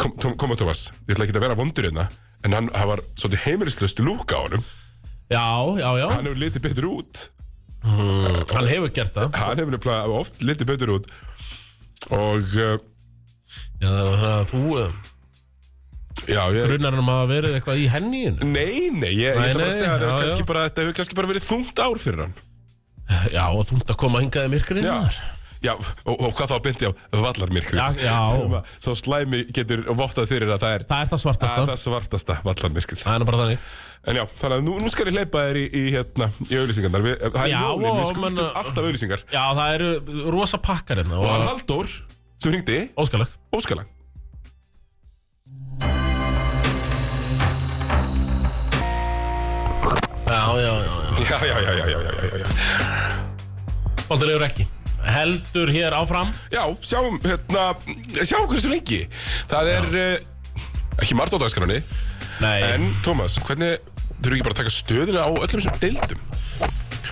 [SPEAKER 1] kom, kom, koma Tómas ég ætla ekki að vera vondur hérna en hann hann var svolítið heimilislaust lúka á honum
[SPEAKER 2] Já, já, já
[SPEAKER 1] hann hefur litið betur út
[SPEAKER 2] Hann hefur gert það
[SPEAKER 1] hann hefur nefnilega oft litið betur út og uh,
[SPEAKER 2] Já, það er að þú eh,
[SPEAKER 1] Já, ég...
[SPEAKER 2] Grunnar hann um að hafa verið eitthvað í henni í hennu?
[SPEAKER 1] Nei, nei, ég, ég
[SPEAKER 2] Nei,
[SPEAKER 1] ætla bara að
[SPEAKER 2] nei,
[SPEAKER 1] segja að
[SPEAKER 2] já,
[SPEAKER 1] þetta
[SPEAKER 2] já.
[SPEAKER 1] kannski bara- þetta hefur kannski bara verið þungt ár fyrir hann
[SPEAKER 2] Já, og þú ert að koma hingað í myrkrið
[SPEAKER 1] Já,
[SPEAKER 2] maður.
[SPEAKER 1] já og, og hvað þá byndi á vallarmyrkri
[SPEAKER 2] Já, já.
[SPEAKER 1] *laughs* Svo slæmi getur vottað fyrir að það er
[SPEAKER 2] Það er það
[SPEAKER 1] að
[SPEAKER 2] svartasta
[SPEAKER 1] það svartasta vallarmyrkrið
[SPEAKER 2] Það er nú bara þannig
[SPEAKER 1] En já, þannig að nú, nú skal ég leipa þér í, í, hérna, í auðlýsingarnar Við, það er
[SPEAKER 2] Já,
[SPEAKER 1] jólin, við
[SPEAKER 2] og
[SPEAKER 1] skuldum
[SPEAKER 2] menna-
[SPEAKER 1] alltaf auðlýsingar
[SPEAKER 2] Já, það eru rosa pakkar hérna
[SPEAKER 1] Og hann
[SPEAKER 2] og
[SPEAKER 1] Halldór, sem hringdi,
[SPEAKER 2] óskalag
[SPEAKER 1] óskalag
[SPEAKER 2] Já, já, já, já
[SPEAKER 1] Já, já, já, já, já, já, já, já
[SPEAKER 2] Bóttilegur ekki Heldur hér áfram
[SPEAKER 1] Já, sjáum, hérna, sjáum hversu lengi Það er, uh, ekki margt á dagskránni
[SPEAKER 2] Nei,
[SPEAKER 1] En, Tómas, hvernig þurfum ekki bara að taka stöðuna á öllum þessum deildum?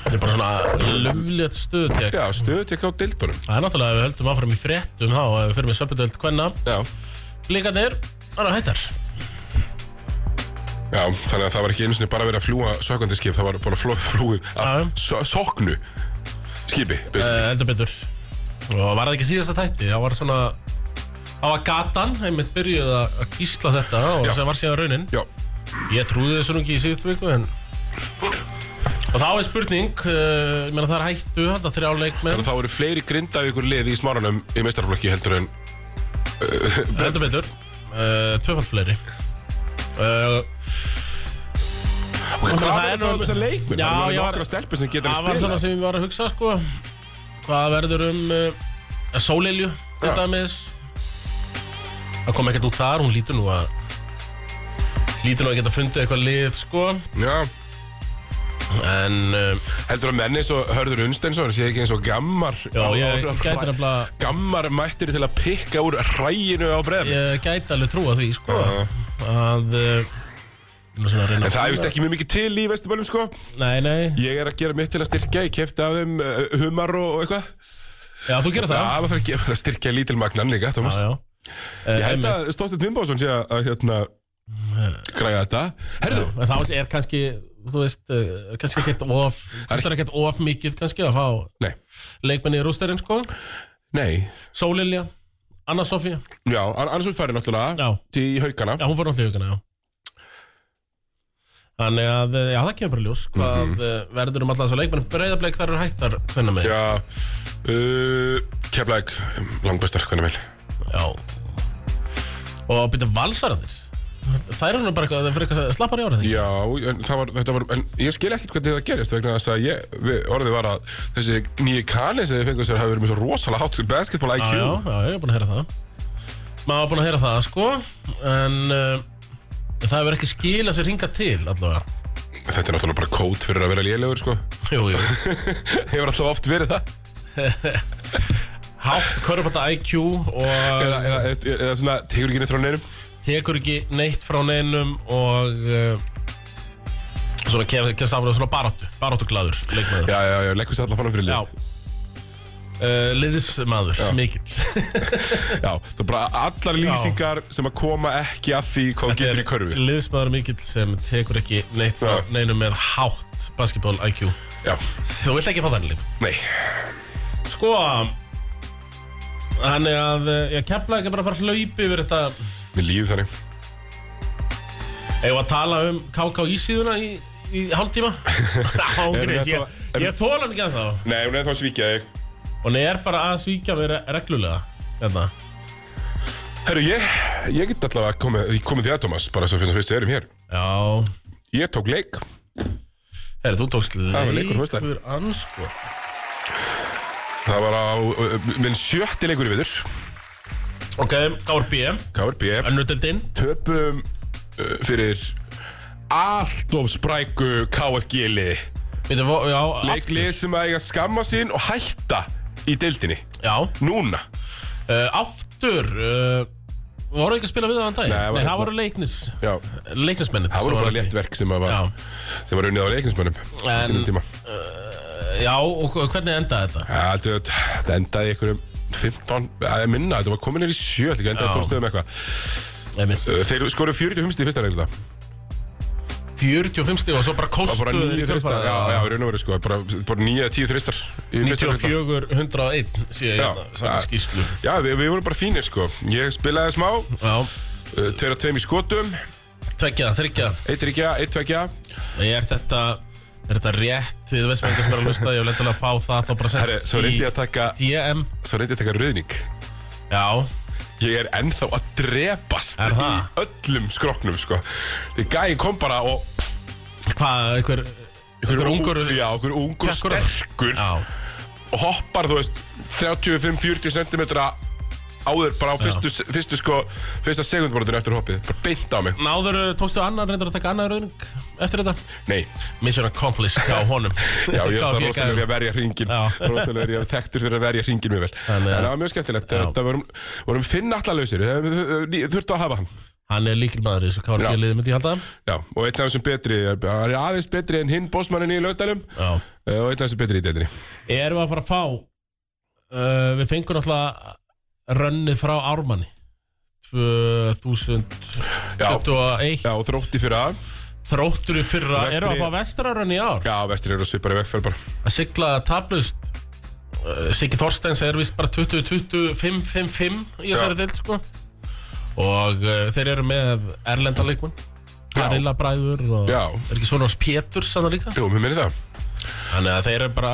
[SPEAKER 2] þetta er bara svona löflétt stuðutek
[SPEAKER 1] Já, stöðutek á deildunum
[SPEAKER 2] Það er náttúrulega að við höldum áfram í fréttum þá og ef við fyrir með söpudöld hvenna
[SPEAKER 1] Já,
[SPEAKER 2] Líkarnir, það er hættar
[SPEAKER 1] já, þannig að það var ekki einu sinni bara verið að fljúa sökvandi skip Það var bara fló, flúið
[SPEAKER 2] Já, já.
[SPEAKER 1] af so soknu skipi uh,
[SPEAKER 2] Eh, heldur betur og var það ekki síðasta þætti það var svona það var gatan einmitt byrjuð að að kýsla þetta og
[SPEAKER 1] Já.
[SPEAKER 2] sem var síðan raunin
[SPEAKER 1] Já,
[SPEAKER 2] ég trúði þessu nú ekki í síðustu viku en og þá er spurning uh, ég meina það er hættu þetta þrjá leikmenn
[SPEAKER 1] þannig að þá eru fleiri grinda ykkur lið í smáranum í meistarflokki heldur en
[SPEAKER 2] heldur betur uh, tvöfald fleiri uh,
[SPEAKER 1] Og
[SPEAKER 2] það
[SPEAKER 1] Hvað
[SPEAKER 2] er
[SPEAKER 1] er það
[SPEAKER 2] nú-
[SPEAKER 1] um þessa leikmenn?
[SPEAKER 2] Já,
[SPEAKER 1] það eru
[SPEAKER 2] já.
[SPEAKER 1] nokkra stelpur sem getur
[SPEAKER 2] það
[SPEAKER 1] að
[SPEAKER 2] var
[SPEAKER 1] spila
[SPEAKER 2] svona sem ég var að hugsa sko hvað verður um uh, sólilju til
[SPEAKER 1] Já.
[SPEAKER 2] dæmis það kom ekkert út þar hún lítur nú að lítur nú að geta fundið eitthvað lið sko
[SPEAKER 1] Já,
[SPEAKER 2] en uh,
[SPEAKER 1] Heldur að menni svo Hörður Unsteinsson sé ekki eins og gammar
[SPEAKER 2] já,
[SPEAKER 1] á- á-
[SPEAKER 2] ég gæti nefnilega
[SPEAKER 1] Gammar mættir til að pikka úr ræginu á breyðum
[SPEAKER 2] ég gæti alveg trúa því sko
[SPEAKER 1] Já.
[SPEAKER 2] að uh, ég er svona að reyna
[SPEAKER 1] En
[SPEAKER 2] að
[SPEAKER 1] það er
[SPEAKER 2] finna-
[SPEAKER 1] vist ekki mjög mikið til í Vesturbælum sko
[SPEAKER 2] nei nei
[SPEAKER 1] Ég er að gera mitt til að styrkja, ég kefti af þeim uh, humar og, og eitthvað
[SPEAKER 2] já þú gerir það
[SPEAKER 1] Það var fyrir að gefa- að styrkja lítilmagnan líka, Thomas
[SPEAKER 2] já, já.
[SPEAKER 1] Ég held að Stóttir Tvimbásson sé að, að hérna, græja þetta Herðu,
[SPEAKER 2] En það er kannski, þú veist, eh, kannski ekkert of, það er ekkert of mikið kannski að fá
[SPEAKER 1] nei,
[SPEAKER 2] leikmenni í rústerinn sko
[SPEAKER 1] nei
[SPEAKER 2] Sólilja, Anna Sofía
[SPEAKER 1] Já, Ann- annars við færi náttúrulega
[SPEAKER 2] Já.
[SPEAKER 1] til í haukana
[SPEAKER 2] Já, hún fór náttúrulega í hugana, já Þannig að, eh, já, það kemur bara í ljós Hvað
[SPEAKER 1] Mhm.
[SPEAKER 2] mm verður um alltaf þessu leikmenn Breiðableik þar eru hættar, hvernig með
[SPEAKER 1] Já, uh, keflæk langbestar, hvernig meil
[SPEAKER 2] já. Og byrja valsvarandir Það eru nú bara eitthvað, það fyrir eitthvað slappar í ára því
[SPEAKER 1] Já, en, það var, þetta var, en ég skil ekkert hvernig það gerist vegna þess að ég, við, orðið var að þessi nýju kalið sem þið fengur sér hafi verið með svo rosalega hátt basketball IQ
[SPEAKER 2] Já, já, já, ég er búin að heyra það Maður er búin að heyra það, sko En uh, það hefur ekki skilað sér hingað til allavega *laughs*
[SPEAKER 1] Þetta er náttúrulega bara kót fyrir að vera lélegur sko *laughs*
[SPEAKER 2] Jú, jú
[SPEAKER 1] Hefur alltaf oft verið það
[SPEAKER 2] Hátt, körpata IQ og
[SPEAKER 1] Eða, eða, eða, eða svona, tegur ekki neitt frá neinum
[SPEAKER 2] tekur ekki neitt frá neinum og uh, svona kemur kem saman svona baráttu, baráttuglaður leikmaður.
[SPEAKER 1] Já, já, já, leggur sér allar fannum fyrir lið
[SPEAKER 2] Uh, liðismaður, mikill.
[SPEAKER 1] Já, það er bara allar lýsingar sem að koma ekki að því hvað þú getur í körfi
[SPEAKER 2] Liðismaður mikill sem tekur ekki neitt frá
[SPEAKER 1] Já.
[SPEAKER 2] neinum með hátt basketball IQ.
[SPEAKER 1] Já,
[SPEAKER 2] Þú vilt ekki fá þannig líf.
[SPEAKER 1] nei
[SPEAKER 2] Sko, þannig að eh, ég kemla ekki bara að fara að hlaupi yfir þetta.
[SPEAKER 1] Mér líður þannig
[SPEAKER 2] Eða að tala um KK ísíðuna í, í hálftíma?
[SPEAKER 1] *laughs*
[SPEAKER 2] Ángriðis,
[SPEAKER 1] Erum við
[SPEAKER 2] ég,
[SPEAKER 1] ennþá-
[SPEAKER 2] ég þóla hann ekki að þá.
[SPEAKER 1] Nei, hún er þá að svíkja þig
[SPEAKER 2] Og hann er bara að svíkja mér reglulega. Hérna.
[SPEAKER 1] Herru, ég, ég get allavega komið, komið því að Thomas bara svo fyrir fyrstu erum hér
[SPEAKER 2] Já
[SPEAKER 1] Ég tók leik
[SPEAKER 2] Herri, þú tókst
[SPEAKER 1] var leikur föstudag.
[SPEAKER 2] leikur ansko
[SPEAKER 1] Það var á uh, minn sjötti leikur í viður
[SPEAKER 2] Ok, þá er BM
[SPEAKER 1] KRB
[SPEAKER 2] Önnudeldin
[SPEAKER 1] Töpum uh, fyrir allt of spræku KFG-liði
[SPEAKER 2] Við þau, já aftur.
[SPEAKER 1] Leiklið sem að eiga að skamma sín og hætta í deildinni
[SPEAKER 2] Já
[SPEAKER 1] Núna
[SPEAKER 2] uh, Aftur uh, Voru ekki að spila við það þann dag?
[SPEAKER 1] Nei, var-
[SPEAKER 2] það voru leiknis
[SPEAKER 1] Já,
[SPEAKER 2] Leiknismennir
[SPEAKER 1] það voru bara létt verk sem að var, sem var unnið á leiknismönnum
[SPEAKER 2] En-
[SPEAKER 1] Sínum tíma
[SPEAKER 2] Eh, Já, og hvernig endaði þetta?
[SPEAKER 1] Ja, Þetta þetta endaði í einhverjum 15, að ég minna, þetta var komin er í sjö Þetta endaði
[SPEAKER 2] Já.
[SPEAKER 1] 12 stöðum eitthvað
[SPEAKER 2] Nei,
[SPEAKER 1] Uh, Þeir skoru 45 stíð í fyrsta reglita
[SPEAKER 2] 45 stíð og svo bara kostu
[SPEAKER 1] Það var bara nýju þristar Já, já, í raun og veru sko Bara, bara nýja, tíu þristar í fyrsta riðla.
[SPEAKER 2] 94, 101 sé ég
[SPEAKER 1] Já,
[SPEAKER 2] hérna, saman
[SPEAKER 1] það-
[SPEAKER 2] skýslu
[SPEAKER 1] Já, við, við vorum bara fínir sko Ég spilaði smá
[SPEAKER 2] Já,
[SPEAKER 1] Tveir að tveim í skotum
[SPEAKER 2] Tveggja, þryggja
[SPEAKER 1] Eitt ríkja, eitt tvekja
[SPEAKER 2] Er þetta Er þetta rétt Þið veist með einhver sem er að hlusta Ég vil eitthvað að fá það Þá bara
[SPEAKER 1] Herri,
[SPEAKER 2] sent
[SPEAKER 1] svo reyndi ég að taka
[SPEAKER 2] DM
[SPEAKER 1] Svo reyndi ég að taka rauðning
[SPEAKER 2] Já
[SPEAKER 1] Ég er ennþá að drepast
[SPEAKER 2] Er
[SPEAKER 1] Í
[SPEAKER 2] það?
[SPEAKER 1] öllum skroknum, sko Því gæinn kom bara og
[SPEAKER 2] Hvað Einhver Einhver ungur
[SPEAKER 1] Já, okkur ungur
[SPEAKER 2] Kekkur.
[SPEAKER 1] sterkur
[SPEAKER 2] Já
[SPEAKER 1] og hoppar, þú veist, 35-40 cm áður bara á fyrstu, fyrstu sko, fyrsta segundmorðinu eftir hoppið, bara beint á mig
[SPEAKER 2] Náður eh, tókstu annan reyndar að taka annan rauning eftir þetta
[SPEAKER 1] Nei,
[SPEAKER 2] Mission accomplished hjá honum
[SPEAKER 1] já, ég er
[SPEAKER 2] Gaf
[SPEAKER 1] það rosalega
[SPEAKER 2] gæðum.
[SPEAKER 1] verið að verja hringin
[SPEAKER 2] Já.
[SPEAKER 1] *laughs* rosalega verið að þekktur fyrir að verja hringin mjög vel en
[SPEAKER 2] Þannig að-
[SPEAKER 1] það var mjög skemmtilegt, þetta vorum, vorum finn allar lausir, þurftu að hafa hann
[SPEAKER 2] Hann er líkil maður í þessu
[SPEAKER 1] Já.
[SPEAKER 2] KRG-liði myndi ég halda
[SPEAKER 1] Já, og einn af þessum betri, hann er aðeins betri en hinn bósmannin í laudalum
[SPEAKER 2] Já
[SPEAKER 1] eh, og einn af þessum betri í deildinni
[SPEAKER 2] Erum við að fara að fá uh, Við fengum náttúrulega Rönnið frá Ármanni 2021
[SPEAKER 1] Já, já, og þrótti fyrir að
[SPEAKER 2] Þróttur í fyrra
[SPEAKER 1] Vestri-
[SPEAKER 2] Erum við að fá vesturarönni í ár
[SPEAKER 1] Já, vestri eru að svipara í vegferð bara
[SPEAKER 2] Að sigla tablust uh, Siggi Þorsteins er vist bara 20-25-5-5 Í þessari deild sko Og uh, þeir eru með Erlenda leikmenn
[SPEAKER 1] Já.
[SPEAKER 2] Karilla Bræður og
[SPEAKER 1] Já.
[SPEAKER 2] er ekki svona hans Péturs þannig líka
[SPEAKER 1] Jú, mér minni það
[SPEAKER 2] Þannig að þeir eru bara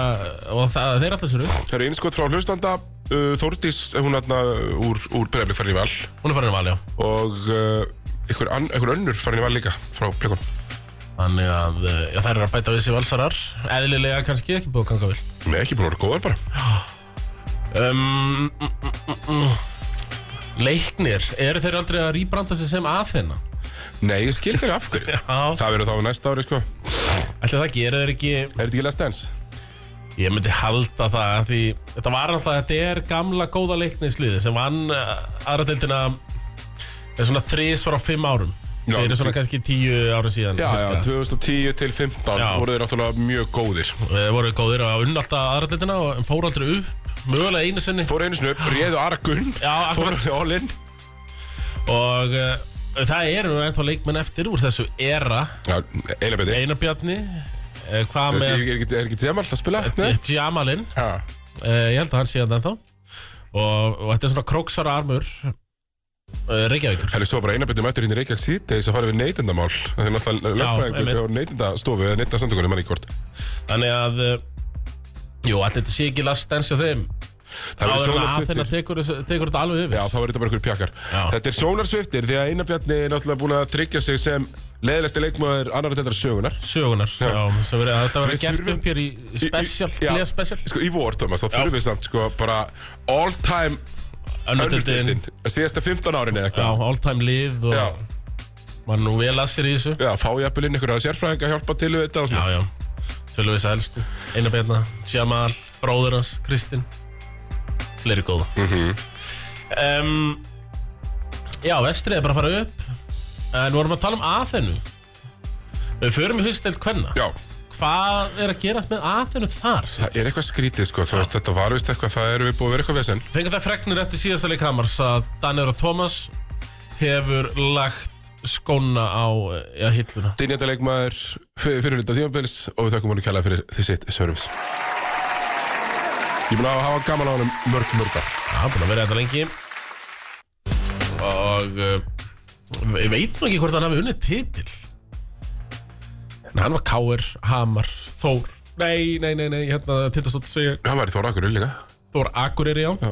[SPEAKER 2] og það, þeir alltaf sér upp
[SPEAKER 1] Það eru innskot frá hlustanda uh, Þórdís, hún er þarna eh, úr, úr breyflik farin í val
[SPEAKER 2] Hún er farin að valja
[SPEAKER 1] og uh, einhver, ann, einhver önnur farin í val líka frá plikon
[SPEAKER 2] Þannig að eh, já, þær eru að bæta við sér valsarar Eðlilega kannski ekki búið að ganga vel
[SPEAKER 1] Nei, ekki búin að vera góðar bara
[SPEAKER 2] um, mm, mm, mm, mm. Leiknir, eru þeir aldrei að rýbranda sig sem aðeina?
[SPEAKER 1] Nei, ég skil ekki alveg af *laughs* hverju
[SPEAKER 2] Já
[SPEAKER 1] Það verður þá á næsta ári, sko Er
[SPEAKER 2] Ætli það gera þeir ekki
[SPEAKER 1] þetta ekki last dance?
[SPEAKER 2] Ég myndi halda það af Því þetta var alltaf, þetta er gamla góða leiknisliði sem vann eh, aðra deildina er svona þrísvar á fimm árum
[SPEAKER 1] Já.
[SPEAKER 2] Þeir eru svona kannski tíu árum síðan
[SPEAKER 1] Já, já,
[SPEAKER 2] cirka.
[SPEAKER 1] 2010 til 15
[SPEAKER 2] Já.
[SPEAKER 1] voru þeir náttúrulega mjög góðir
[SPEAKER 2] Við vorum Eh, góðir að unna alltaf aðrætletina og fóru aldrei upp, mögulega einu sinni
[SPEAKER 1] Fóru einu sinni upp, réðu Argun
[SPEAKER 2] Já, akkurat.
[SPEAKER 1] Fóru all in
[SPEAKER 2] og uh, það eru nú ennþá leikmenn eftir úr þessu era
[SPEAKER 1] Já, eina beti
[SPEAKER 2] Einar Bjarni, uh, hvað
[SPEAKER 1] Er
[SPEAKER 2] með
[SPEAKER 1] er ekki, er ekki Jamal að spila? Nei?
[SPEAKER 2] J- Jamalinn,
[SPEAKER 1] Ha,
[SPEAKER 2] uh, ég held að hann sé hann ennþá og, og þetta er svona króksara armur uh, Reykjavíkur
[SPEAKER 1] Það er svo bara eina betið mættur hérna í Reykjavík síðdegis að fara við neytendamál Það er náttúrulega
[SPEAKER 2] einmitt.
[SPEAKER 1] lögfræðingur á neytendastofu eða neytendasamtökunum manni hvort
[SPEAKER 2] Þannig að, uh, jú, allir þetta sé ekki last dance hjá þeim
[SPEAKER 1] Það verður
[SPEAKER 2] Áður en að
[SPEAKER 1] sjónarsviptir
[SPEAKER 2] þeirna tekur, þessu- tekur þetta alveg yfir
[SPEAKER 1] Já, þá verður þetta bara einhverjir pjakkar
[SPEAKER 2] Já.
[SPEAKER 1] Þetta er sjónarsviptir því að Einar Bjarni er náttúrulega búin að tryggja sig sem leiðilegsti leikmaður annar að sögunar
[SPEAKER 2] Sögunar, já, sem verið, þetta
[SPEAKER 1] Við
[SPEAKER 2] verið gert
[SPEAKER 1] þurfum-
[SPEAKER 2] upp hér í í special,
[SPEAKER 1] já.
[SPEAKER 2] leða special
[SPEAKER 1] Sko í vor, Thomas, þá þurfum við samt sko bara all time
[SPEAKER 2] Önnur
[SPEAKER 1] önnur
[SPEAKER 2] deildin.
[SPEAKER 1] deildin Síðasta 15 árin eða
[SPEAKER 2] Já,
[SPEAKER 1] eitthvað
[SPEAKER 2] all time lið og
[SPEAKER 1] Já.
[SPEAKER 2] var nú vel að sér í þessu
[SPEAKER 1] Já, fá jafnvel inn einhverja sérfræðing að hjálpa til við þetta og
[SPEAKER 2] Já,
[SPEAKER 1] svona
[SPEAKER 2] já, tölum við þess að helstu Einar Bjarna, Sjamal, bróður hans, Kristinn Fleiri góða mm -hmm. Já, vestrið er bara að fara upp En vorum að tala um aðhennu Við förum í hustelt hvenna
[SPEAKER 1] Já,
[SPEAKER 2] Hvað er að gerast með aðhennu þar?
[SPEAKER 1] það er eitthvað skrítið sko, þú veist, þetta var vist eitthvað, það erum við búið að vera eitthvað vesen
[SPEAKER 2] Fengum það fregnir eftir síðasta leik Hamars að Daniel og Thomas hefur lagt skóna á já, hilluna
[SPEAKER 1] Dynjanda leikmaður fyrir hluta tímabils og við þakkum honum kæla fyrir þessi service Ég mun að hafa gaman á honum mörg, mörg ár.
[SPEAKER 2] Já, búin að vera þetta lengi Og uh, Ég veit nú ekki hvort hann hafi unnið titil En hann var Káir, Hamar, Þór Nei, nei, nei, nei, hérna titastótt segja
[SPEAKER 1] Hann var í Þóra Akureyri líka
[SPEAKER 2] Þór Akureyri á
[SPEAKER 1] Já.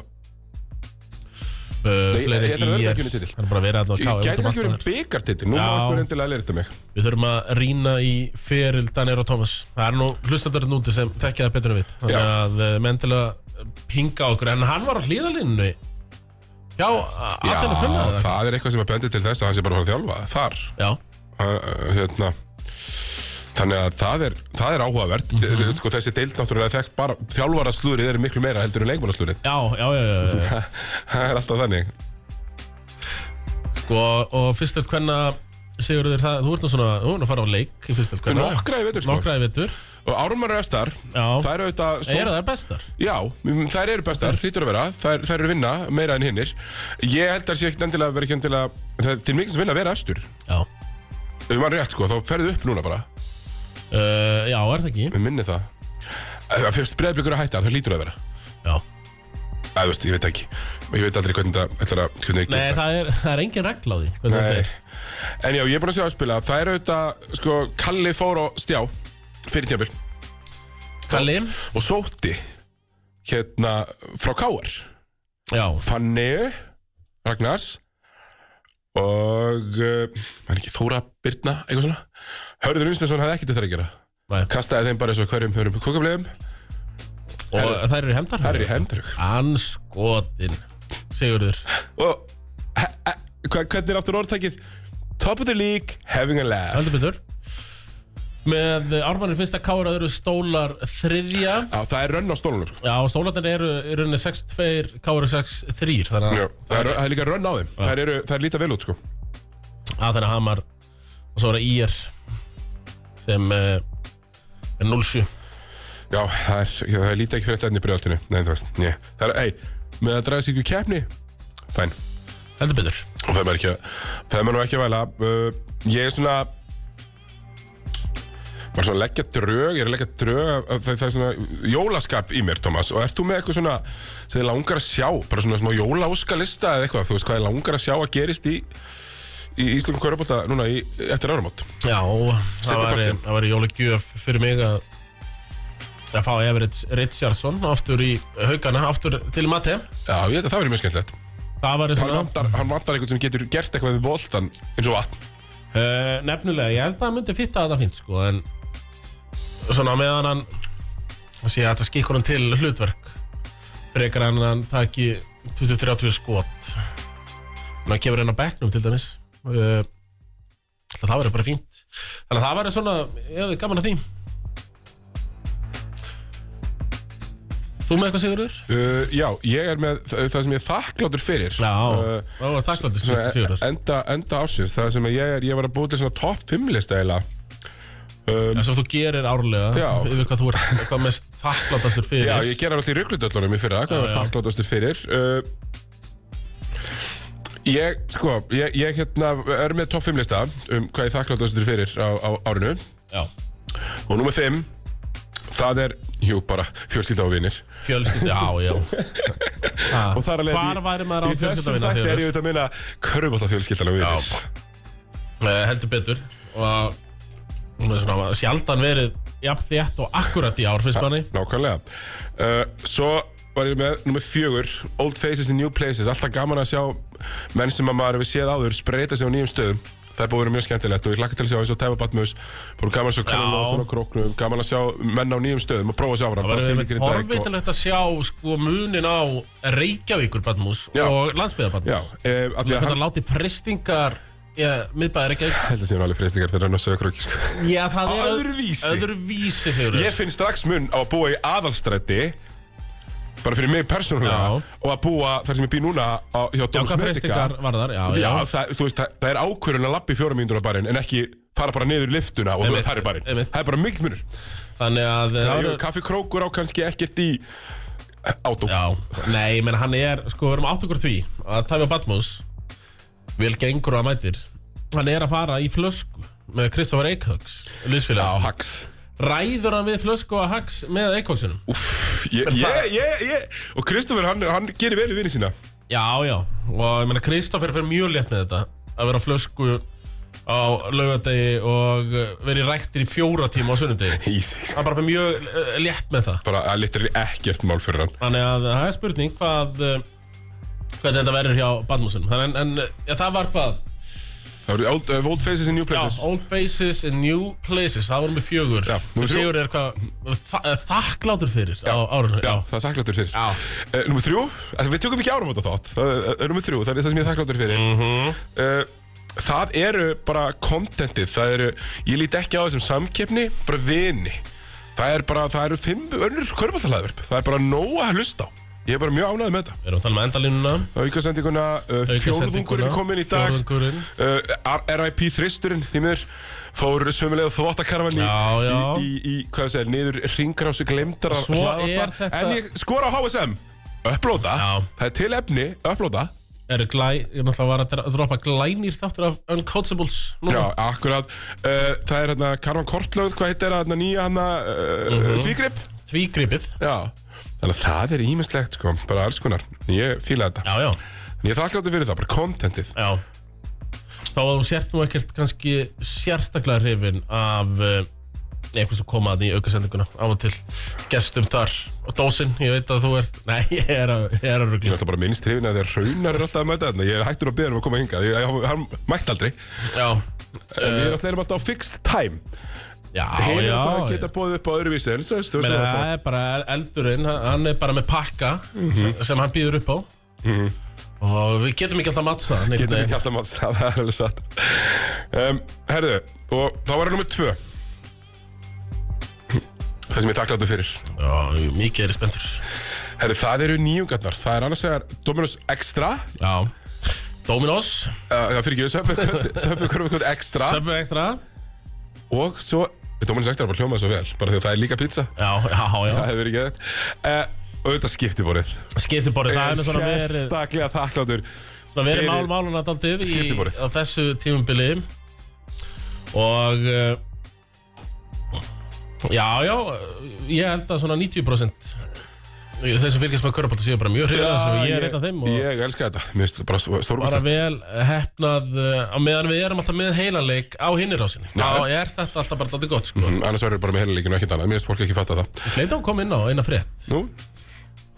[SPEAKER 2] uh,
[SPEAKER 1] ég-
[SPEAKER 2] Nei,
[SPEAKER 1] ég- þetta er örugglega ekki unnið titil.
[SPEAKER 2] Hann er bara að vera þarna á
[SPEAKER 1] Ég
[SPEAKER 2] Káir
[SPEAKER 1] gæti
[SPEAKER 2] út um
[SPEAKER 1] kannski
[SPEAKER 2] allt
[SPEAKER 1] verið
[SPEAKER 2] maður.
[SPEAKER 1] byggartitil Nú má
[SPEAKER 2] Já.
[SPEAKER 1] okkur endilega leirta mig
[SPEAKER 2] Við þurfum að rýna í feril Daniel og Thomas Það er nú hlustandurinn úti sem þekkja það betur en við Þannig
[SPEAKER 1] Já.
[SPEAKER 2] að uh, menn til að pinga okkur En hann var á hlýðalínu Já,
[SPEAKER 1] Já,
[SPEAKER 2] allir að finna það
[SPEAKER 1] það er eitthvað sem að bendi til þess að hann sé bara að fara að þjálfa þar
[SPEAKER 2] Já,
[SPEAKER 1] Hann, uh, hérna. Þannig að það er, það er áhugavert
[SPEAKER 2] Mhm.
[SPEAKER 1] sko, Þessi deild náttúrulega þekkt bara Þjálfaraslúrið er miklu meira heldur en leikmannaslúrið
[SPEAKER 2] já, já, já, já, já.
[SPEAKER 1] *laughs* Það er alltaf þannig
[SPEAKER 2] Sko, og fyrstöld hvenna Sigurður, það, þú ert nú svona, þú ert nú að fara á leik í fyrstöld hvenna
[SPEAKER 1] Nokkra í veitur sko
[SPEAKER 2] Nokkra í vetur
[SPEAKER 1] Og Ármann er efstar
[SPEAKER 2] Já.
[SPEAKER 1] Þær eru auðvitað sól-
[SPEAKER 2] Eru þær bestar?
[SPEAKER 1] Já, mm, þær eru bestar, hlýtur að vera Þær, þær eru vinna meira en hinnir Ég held að það sé ekkert endilega verið ekki endilega Það er til mikils vinna að vera efstur
[SPEAKER 2] Já
[SPEAKER 1] Ef maður rétt sko, þá ferðu upp núna bara
[SPEAKER 2] uh, Já, er það ekki?
[SPEAKER 1] Við minni það Ef Fyrst breyðblikur að hætta, það hlýtur að vera
[SPEAKER 2] Já
[SPEAKER 1] Æ, þú veist, ég veit ekki Ég veit aldrei hvernig það ætlar að hvernig
[SPEAKER 2] Nei,
[SPEAKER 1] það
[SPEAKER 2] það er, það er engin regla á því hvernig þetta er.
[SPEAKER 1] En já, ég er búin að segja áspila Það er auðvitað, sko, Kalli fór á stjá Fyrir tjábil
[SPEAKER 2] Kalli
[SPEAKER 1] Og sótti Hérna, frá Káar
[SPEAKER 2] Já,
[SPEAKER 1] Fanny Ragnars Og uh, Man ekki, Þóra Birna, eitthvað svona Hörður Unstensson hafði ekkert þetta að gera
[SPEAKER 2] nei.
[SPEAKER 1] Kastaði þeim bara eins og hverjum hörum kukkabliðum
[SPEAKER 2] og þær eru í hefndar
[SPEAKER 1] Það er í hendrug
[SPEAKER 2] Anskotin Sigurður
[SPEAKER 1] Og he- he- hva- hvernig er aftur orðtækið? Top of the league, having a laugh
[SPEAKER 2] Heldur betur Með ármannir fyrsta kára eru stólar þriðja
[SPEAKER 1] Já, það er rönn á stólunum sko.
[SPEAKER 2] Já, stólarnir eru í rauninni 6-2 kára 6-3 Þannig
[SPEAKER 1] Já,
[SPEAKER 2] að,
[SPEAKER 1] það, er, það er líka rönn á þeim Það eru, það er líta vel út sko
[SPEAKER 2] að þannig að hamar Og svo eru ír Sem uh, er 0-7
[SPEAKER 1] Já, það er, já, það er líta ekki fyrir þetta enn í brjóðaltinu Nei, þú veist, njö Það er, ei, með að draga sig í keppni Fæn,
[SPEAKER 2] Heldur betur
[SPEAKER 1] og það er maður ekki að Það er maður nú ekki að væla uh, Ég er svona Bara svona að leggja drög, ég er að leggja drög af- af- það, það er svona jólaskap í mér, Thomas Og ert þú með eitthvað svona sem þið langar að sjá Bara svona smá jólaóskalista eða eitthvað Þú veist hvað þið langar að sjá að gerist í Í Íslingum Körubólta núna í, eftir áramót
[SPEAKER 2] Já, það
[SPEAKER 1] Seinni
[SPEAKER 2] væri,
[SPEAKER 1] partinn.
[SPEAKER 2] það væri jólagjöf fyrir mig að að fá Everett Richardson aftur í haugana, aftur til Mate
[SPEAKER 1] Já, ég held að það verið mjög skemmtilegt
[SPEAKER 2] Það væri
[SPEAKER 1] hann
[SPEAKER 2] svona
[SPEAKER 1] vantar, hann vantar einhvern sem getur gert eitthvað við boltan eins og vatn
[SPEAKER 2] uh, Nefnilega, ég held að það myndi fitta þetta fínt sko, en svona meðan hann að sé að þetta skikkur hann til hlutverk frekar en að hann taki 20-30 skot hann kemur inn á bekknum til dæmis uh, það verður bara fínt þannig að það verður svona, ég, gaman að því Þú með eitthvað Sigurður?
[SPEAKER 1] uh, Já, ég er með það, það sem ég er þakklátur fyrir
[SPEAKER 2] Já,
[SPEAKER 1] uh,
[SPEAKER 2] það var takklandi
[SPEAKER 1] svona eh,
[SPEAKER 2] Sigurður
[SPEAKER 1] enda, enda ásins það sem ég er, ég var að búið til svona topp 5 lista eiginlega um,
[SPEAKER 2] Það sem þú gerir árlega
[SPEAKER 1] Já.
[SPEAKER 2] yfir hvað þú ert, hvað mest þakklandastur fyrir
[SPEAKER 1] Já, ég gera alltaf í ruggludöllunum í fyrra hvað ég var
[SPEAKER 2] já.
[SPEAKER 1] þakklátastur fyrir uh, Ég, sko, ég, ég hérna er með topp 5 lista um hvað ég er þakklátastur fyrir á, á árinu
[SPEAKER 2] Já.
[SPEAKER 1] og númer 5 það er, jú, bara fjölskylda og vinir
[SPEAKER 2] Fjölskyldi, já, já ha,
[SPEAKER 1] og þar að leiði
[SPEAKER 2] Hvar væri maður á
[SPEAKER 1] í þessum
[SPEAKER 2] fjölskyldavinna
[SPEAKER 1] þætti er ég
[SPEAKER 2] þegar?
[SPEAKER 1] auðvitað að minna körfubólta fjölskyldan og viðins
[SPEAKER 2] Uh, heldur betur og hún er svona sjaldan verið jafn þétt og akkurat í ár finnst manni
[SPEAKER 1] nákvæmlega uh, svo var ég með nummer fjögur Old Faces in New Places alltaf gaman að sjá menn sem að maður hefur séð áður spreita sig á nýjum stöðum það er búið að vera mjög skemmtilegt og ég hlakka til að sjá eins og Tæfa Batmus búið gaman að sjá
[SPEAKER 2] Já.
[SPEAKER 1] Karin Lóðsson á króknum gaman að sjá menn á nýjum stöðum og prófa að sjá áfram
[SPEAKER 2] það
[SPEAKER 1] Bara
[SPEAKER 2] verður
[SPEAKER 1] sem
[SPEAKER 2] einmitt
[SPEAKER 1] ykkur í dag og-
[SPEAKER 2] horfitilegt að sjá sko munin á Reykjavíkur Batmús
[SPEAKER 1] Já.
[SPEAKER 2] og landsbyðarbatmús
[SPEAKER 1] Já, eh, af því að
[SPEAKER 2] þetta
[SPEAKER 1] hann
[SPEAKER 2] láti fristingar ja, miðbæðir Reykjavík
[SPEAKER 1] held að sé hann alveg freystingar þegar hann á sögurkróki sko.
[SPEAKER 2] já, það
[SPEAKER 1] Á
[SPEAKER 2] er
[SPEAKER 1] öðruvísi.
[SPEAKER 2] öðruvísi, Sigurður.
[SPEAKER 1] Ég finn strax mun á að búa í aðalstræti bara fyrir mig persónulega
[SPEAKER 2] Já.
[SPEAKER 1] og að búa þar sem ég bý núna á, hjá
[SPEAKER 2] já,
[SPEAKER 1] Dóms
[SPEAKER 2] hvað
[SPEAKER 1] Medica
[SPEAKER 2] fristingar var þar já,
[SPEAKER 1] Já,
[SPEAKER 2] já,
[SPEAKER 1] það, þú veist, það, það er ákvörðun að lappa í fjóra mínútur á barinn en ekki fara bara niður liftuna og þú
[SPEAKER 2] Einmitt,
[SPEAKER 1] veist, það er barinn
[SPEAKER 2] einmitt.
[SPEAKER 1] Það er bara mikill munur
[SPEAKER 2] þannig að það
[SPEAKER 1] Jú,
[SPEAKER 2] verður-
[SPEAKER 1] Kaffi krókur á kannski ekkert í átó
[SPEAKER 2] Já, nei, menn hann er, sko, við erum átt okkur á því að Tæmi Batmos vil gengur og að mætir hann er að fara í flösku með Kristoffer Eikhögs
[SPEAKER 1] á
[SPEAKER 2] liðsfélag
[SPEAKER 1] hax
[SPEAKER 2] ræður hann við flösku og hax með Eikhögsunum
[SPEAKER 1] Úff, ég, ég,
[SPEAKER 2] það-
[SPEAKER 1] ég, ég Og Kristoffer, hann, hann gerir vel í vinni sína
[SPEAKER 2] já, já, og ég menna Kristoffer fyrir mjög létt með þetta að vera á flösku á laugadegi og uh, verið ræktir í fjóra tíma á sunnudegi
[SPEAKER 1] Easy, sko.
[SPEAKER 2] hann bara fyrir mjög uh, létt með það
[SPEAKER 1] Bara að litur ekkert mál fyrir hann
[SPEAKER 2] Þannig að það er spurning hvað uh, hvað þetta verður hjá Batmosunum Þannig en, en já, það var hvað
[SPEAKER 1] Það voru old, uh, old faces in new
[SPEAKER 2] Já,
[SPEAKER 1] places
[SPEAKER 2] Old Faces and New Places, það vorum við fjögur
[SPEAKER 1] Já, númer
[SPEAKER 2] Sem
[SPEAKER 1] þrjú.
[SPEAKER 2] Sigur er hvað þa þakklátur fyrir á árunni
[SPEAKER 1] Já, það er þakkláttur fyrir
[SPEAKER 2] Já.
[SPEAKER 1] uh, Númer þrjú, að við tökum ekki áramóta þátt uh, uh, Númer þrjú, það er það sem ég er þakkláttur fyrir uh, Það eru bara kontentið Það eru, ég lít ekki á þessum samkeppni Bara vini Það er bara, það eru fimm önnur körbáttalæðverp Það er bara nóg að hlusta á Ég er bara mjög ánægð með þetta
[SPEAKER 2] Við erum að tala með endalínuna
[SPEAKER 1] Það er aukasendinguna, uh, fjórðungurinn kominn í dag
[SPEAKER 2] Fjórðungurinn
[SPEAKER 1] Uh, R- RIP þristurinn því miður fór sömulega þvóttakarfan í,
[SPEAKER 2] Já, já.
[SPEAKER 1] í, í, í hvað segir, niður ringrásu glemdara
[SPEAKER 2] Svo er þetta-
[SPEAKER 1] en ég skora á HSM upplóta,
[SPEAKER 2] Já.
[SPEAKER 1] það er til efni upplóta,
[SPEAKER 2] Eru glæ, ég náttúrulega var að dra- droppa glænýr þáttur af Uncoachables
[SPEAKER 1] já,
[SPEAKER 2] núna. Mhm.
[SPEAKER 1] akkurat uh, það er hérna Karvan Kortlöð, hvað heitir það, hérna nýja hérna uh, mm
[SPEAKER 2] því gripið
[SPEAKER 1] Já, þannig að það er ímislegt sko, bara alls konar Ég fíla þetta,
[SPEAKER 2] Já, já,
[SPEAKER 1] en ég þakkláttu fyrir það, bara contentið
[SPEAKER 2] já Þá að þú sért nú ekkert kannski sérstaklega hrifin af uh, eitthvað sem kom að í aukasendinguna á og til gestum þar og dósin, ég veit að þú ert Nei, *laughs* ég er að, ég er að
[SPEAKER 1] Ég er
[SPEAKER 2] rugla
[SPEAKER 1] alltaf bara minnst hrifin að þegar raunar er alltaf að mæta þarna Ég er hættur að beða um að koma hingað, ég, ég, hann mætti aldrei
[SPEAKER 2] Já,
[SPEAKER 1] En við erum alltaf, erum alltaf á fixed time
[SPEAKER 2] já,
[SPEAKER 1] Hinn er
[SPEAKER 2] já,
[SPEAKER 1] alltaf að
[SPEAKER 2] já.
[SPEAKER 1] geta bóðið upp á öðruvísi En svo veistu,
[SPEAKER 2] Meina,
[SPEAKER 1] veistu,
[SPEAKER 2] það er bara eldurinn, hann- hann er bara með pakka sem hann býður upp á og við Mhm. getum ekki alltaf að matsa hann
[SPEAKER 1] getum
[SPEAKER 2] einhvern
[SPEAKER 1] ekki alltaf maður að það er alveg satt um, Herðu, og þá var það nummer tvö Það sem ég þakkláttu fyrir
[SPEAKER 2] veginn. Já, mikið er ég spenntur
[SPEAKER 1] Herðu, það eru nýjungarnar, það er annars vegar Dominus Extra
[SPEAKER 2] Já, Dominos,
[SPEAKER 1] Uh, það fyrir ekki, Söpbu Körfukvöld Extra
[SPEAKER 2] Subway Extra
[SPEAKER 1] Og svo, Dóminins Extra bara hljómaði svo vel Bara því að það er líka pizza
[SPEAKER 2] Já, já, já,
[SPEAKER 1] Það hefur verið geðvægt uh, Auðvitað skiptiborið
[SPEAKER 2] skiptiborið, það er með svona verið
[SPEAKER 1] Sérstaklega þakkláttur
[SPEAKER 2] Það verið
[SPEAKER 1] fyrir
[SPEAKER 2] mál máluna daldið í,
[SPEAKER 1] skiptiborðið.
[SPEAKER 2] á þessu tímumbili og uh, já, já ég held að svona 90% þeir sem fylgjast með körpallt séu bara mjög hrifin þessu og ég er einn af þeim og
[SPEAKER 1] Ég elska þetta, mér finnst þetta bara
[SPEAKER 2] bara
[SPEAKER 1] stórkvæmt
[SPEAKER 2] vel eh, heppnað uh, á meðan við erum alltaf með heilanleik á hinnirásinni
[SPEAKER 1] Já.
[SPEAKER 2] þá er þetta alltaf bara daldið gott sko.
[SPEAKER 1] Annars verður bara með heilileikinu og ekkert annað Mér finnst fólk ekki fatta það
[SPEAKER 2] Leita hún kom inn á eina frétt
[SPEAKER 1] Nú,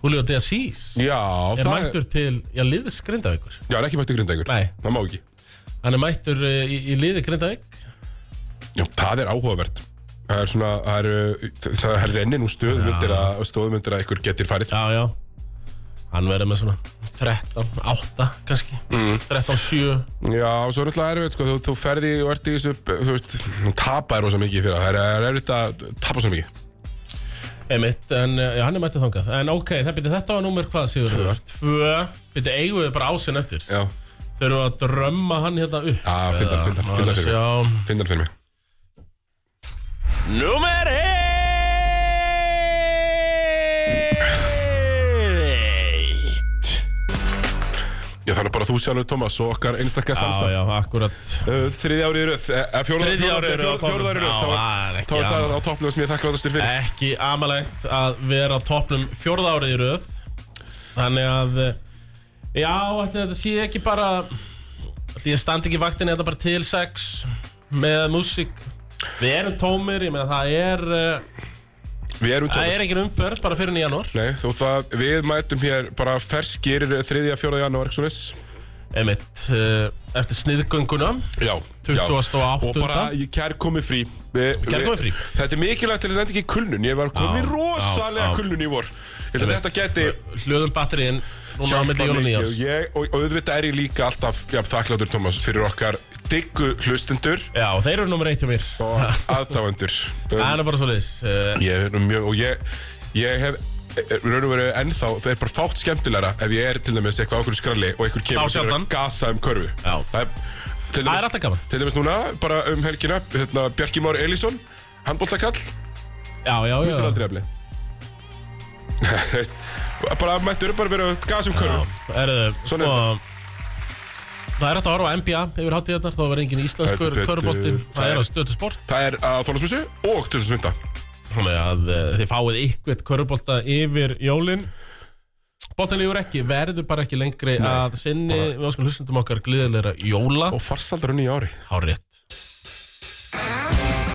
[SPEAKER 2] Julio De Assis
[SPEAKER 1] já,
[SPEAKER 2] er
[SPEAKER 1] það
[SPEAKER 2] mættur til, já, liðis Grindavíkur
[SPEAKER 1] Já, hann er ekki mættur grinda ykkur
[SPEAKER 2] Nei.
[SPEAKER 1] Það má ekki
[SPEAKER 2] hann er mættur uh, í, í liði Grindavík
[SPEAKER 1] Já, það er áhugavert Það er svona, það er, það er rennin úr stöðum undir að, stöðum undir að ykkur getur farið
[SPEAKER 2] já, já hann verður með svona 13, 8 kannski,
[SPEAKER 1] Mm.
[SPEAKER 2] 13, 7
[SPEAKER 1] Já, og svo er náttúrulega erfitt, sko, þú, þú ferði og ert í þessu, þú veist, þú tapar rosa mikið fyrir það, það er- það er erfitt að tapa svo mikið.
[SPEAKER 2] Einmitt, en uh, já, hann er mættið þangað En ok, það byrja þetta var númer hvað sigur
[SPEAKER 1] Tvö.
[SPEAKER 2] Tvö, byrja eigum við bara ásinn eftir
[SPEAKER 1] Já,
[SPEAKER 2] Þau eru að drömma hann hérna upp
[SPEAKER 1] já, fyndan, fyndan, fyndan fyrir mig,
[SPEAKER 2] Já,
[SPEAKER 1] fyndan fyrir mig.
[SPEAKER 2] Númer eitt
[SPEAKER 1] Já, þannig bara þú sjálfur, Tómas, og okkar einstakka
[SPEAKER 2] Já,
[SPEAKER 1] samstaf.
[SPEAKER 2] já, akkurat
[SPEAKER 1] Uh, Þriði árið í röð, eh, eða fjóruða
[SPEAKER 2] Þriðja árið í röð á
[SPEAKER 1] fjóruða árið í röð,
[SPEAKER 2] toppnum.
[SPEAKER 1] þá var-
[SPEAKER 2] Já, Eh, það er ekki
[SPEAKER 1] þá er það
[SPEAKER 2] annað.
[SPEAKER 1] á toppnum sem ég þakla áttastur fyrir.
[SPEAKER 2] Ekki amalegt að vera á topnum fjórða árið í röð Þannig að eh, Já, ætli þetta sé ekki bara Ætli ég standi ekki vaktinni þetta bara til sex Með músík Við erum tómir, ég meina það er uh,
[SPEAKER 1] Við erum
[SPEAKER 2] Það
[SPEAKER 1] tómið.
[SPEAKER 2] er ekki umferð bara fyrir janúar
[SPEAKER 1] Nei, þú það, við mætum hér bara ferskir eh, þriðja, fjóruða janúar, ekki svoleiðis.
[SPEAKER 2] Einmitt, uh, eftir sniðgönguna
[SPEAKER 1] Já, já.
[SPEAKER 2] 28..
[SPEAKER 1] Og bara ég kær komið frí Vi-
[SPEAKER 2] Kærkomið frí.
[SPEAKER 1] við- Þetta er mikilvægt til þess að enda ekki í kulnun Ég var komið
[SPEAKER 2] Já,
[SPEAKER 1] rosalega
[SPEAKER 2] já, já.
[SPEAKER 1] kulnun í vor Ég held að þetta geti
[SPEAKER 2] Hlöðum batteriðin Núna á
[SPEAKER 1] hjálpað
[SPEAKER 2] milli jól og
[SPEAKER 1] mikið
[SPEAKER 2] nýjárs
[SPEAKER 1] og, ég, og, og auðvitað er ég líka alltaf ja, þakkláttur Tómas fyrir okkar diggu hlustendur
[SPEAKER 2] Já, þeir eru nummer eitt hjá mér
[SPEAKER 1] og
[SPEAKER 2] *laughs*
[SPEAKER 1] aðdáendur um,
[SPEAKER 2] Það er bara svo leiðis uh,
[SPEAKER 1] Ég er mjög og ég, ég hef er- raun og veru ennþá, það er bara fátt skemmtilegra ef ég er til dæmis eitthvað á okkur skralli og einhver kemur
[SPEAKER 2] Þá
[SPEAKER 1] og byrjar
[SPEAKER 2] sjaldan.
[SPEAKER 1] að gasa um körfu
[SPEAKER 2] Já.
[SPEAKER 1] Það er, til
[SPEAKER 2] Það
[SPEAKER 1] dæmis-
[SPEAKER 2] er alltaf gaman
[SPEAKER 1] Til dæmis núna, bara um helgina, hérna, Bjarki Már Elísson, handbóltakall,
[SPEAKER 2] Já, já, já
[SPEAKER 1] mistar aldrei efli. *laughs* Þú veist, bara mættur, bara verið að gasa um körfum.
[SPEAKER 2] er,
[SPEAKER 1] Svona
[SPEAKER 2] sko, Það er hægt að horfa á NBA yfir hátíðarnar þó verður engin
[SPEAKER 1] Heldur
[SPEAKER 2] íslenskur
[SPEAKER 1] betur.
[SPEAKER 2] körubólti
[SPEAKER 1] Það
[SPEAKER 2] Það er
[SPEAKER 1] er-
[SPEAKER 2] á stötu sport
[SPEAKER 1] Það er að Þólasmissu og Tullisvinda.
[SPEAKER 2] Þannig að eh, þið fáið ykkert körubólta yfir jólin Bóltan lífur ekki, verður bara ekki lengri að sinni við óskum hlustundum okkar gleðilegra jóla
[SPEAKER 1] Og farsaldar á nýja ári.
[SPEAKER 2] Hárið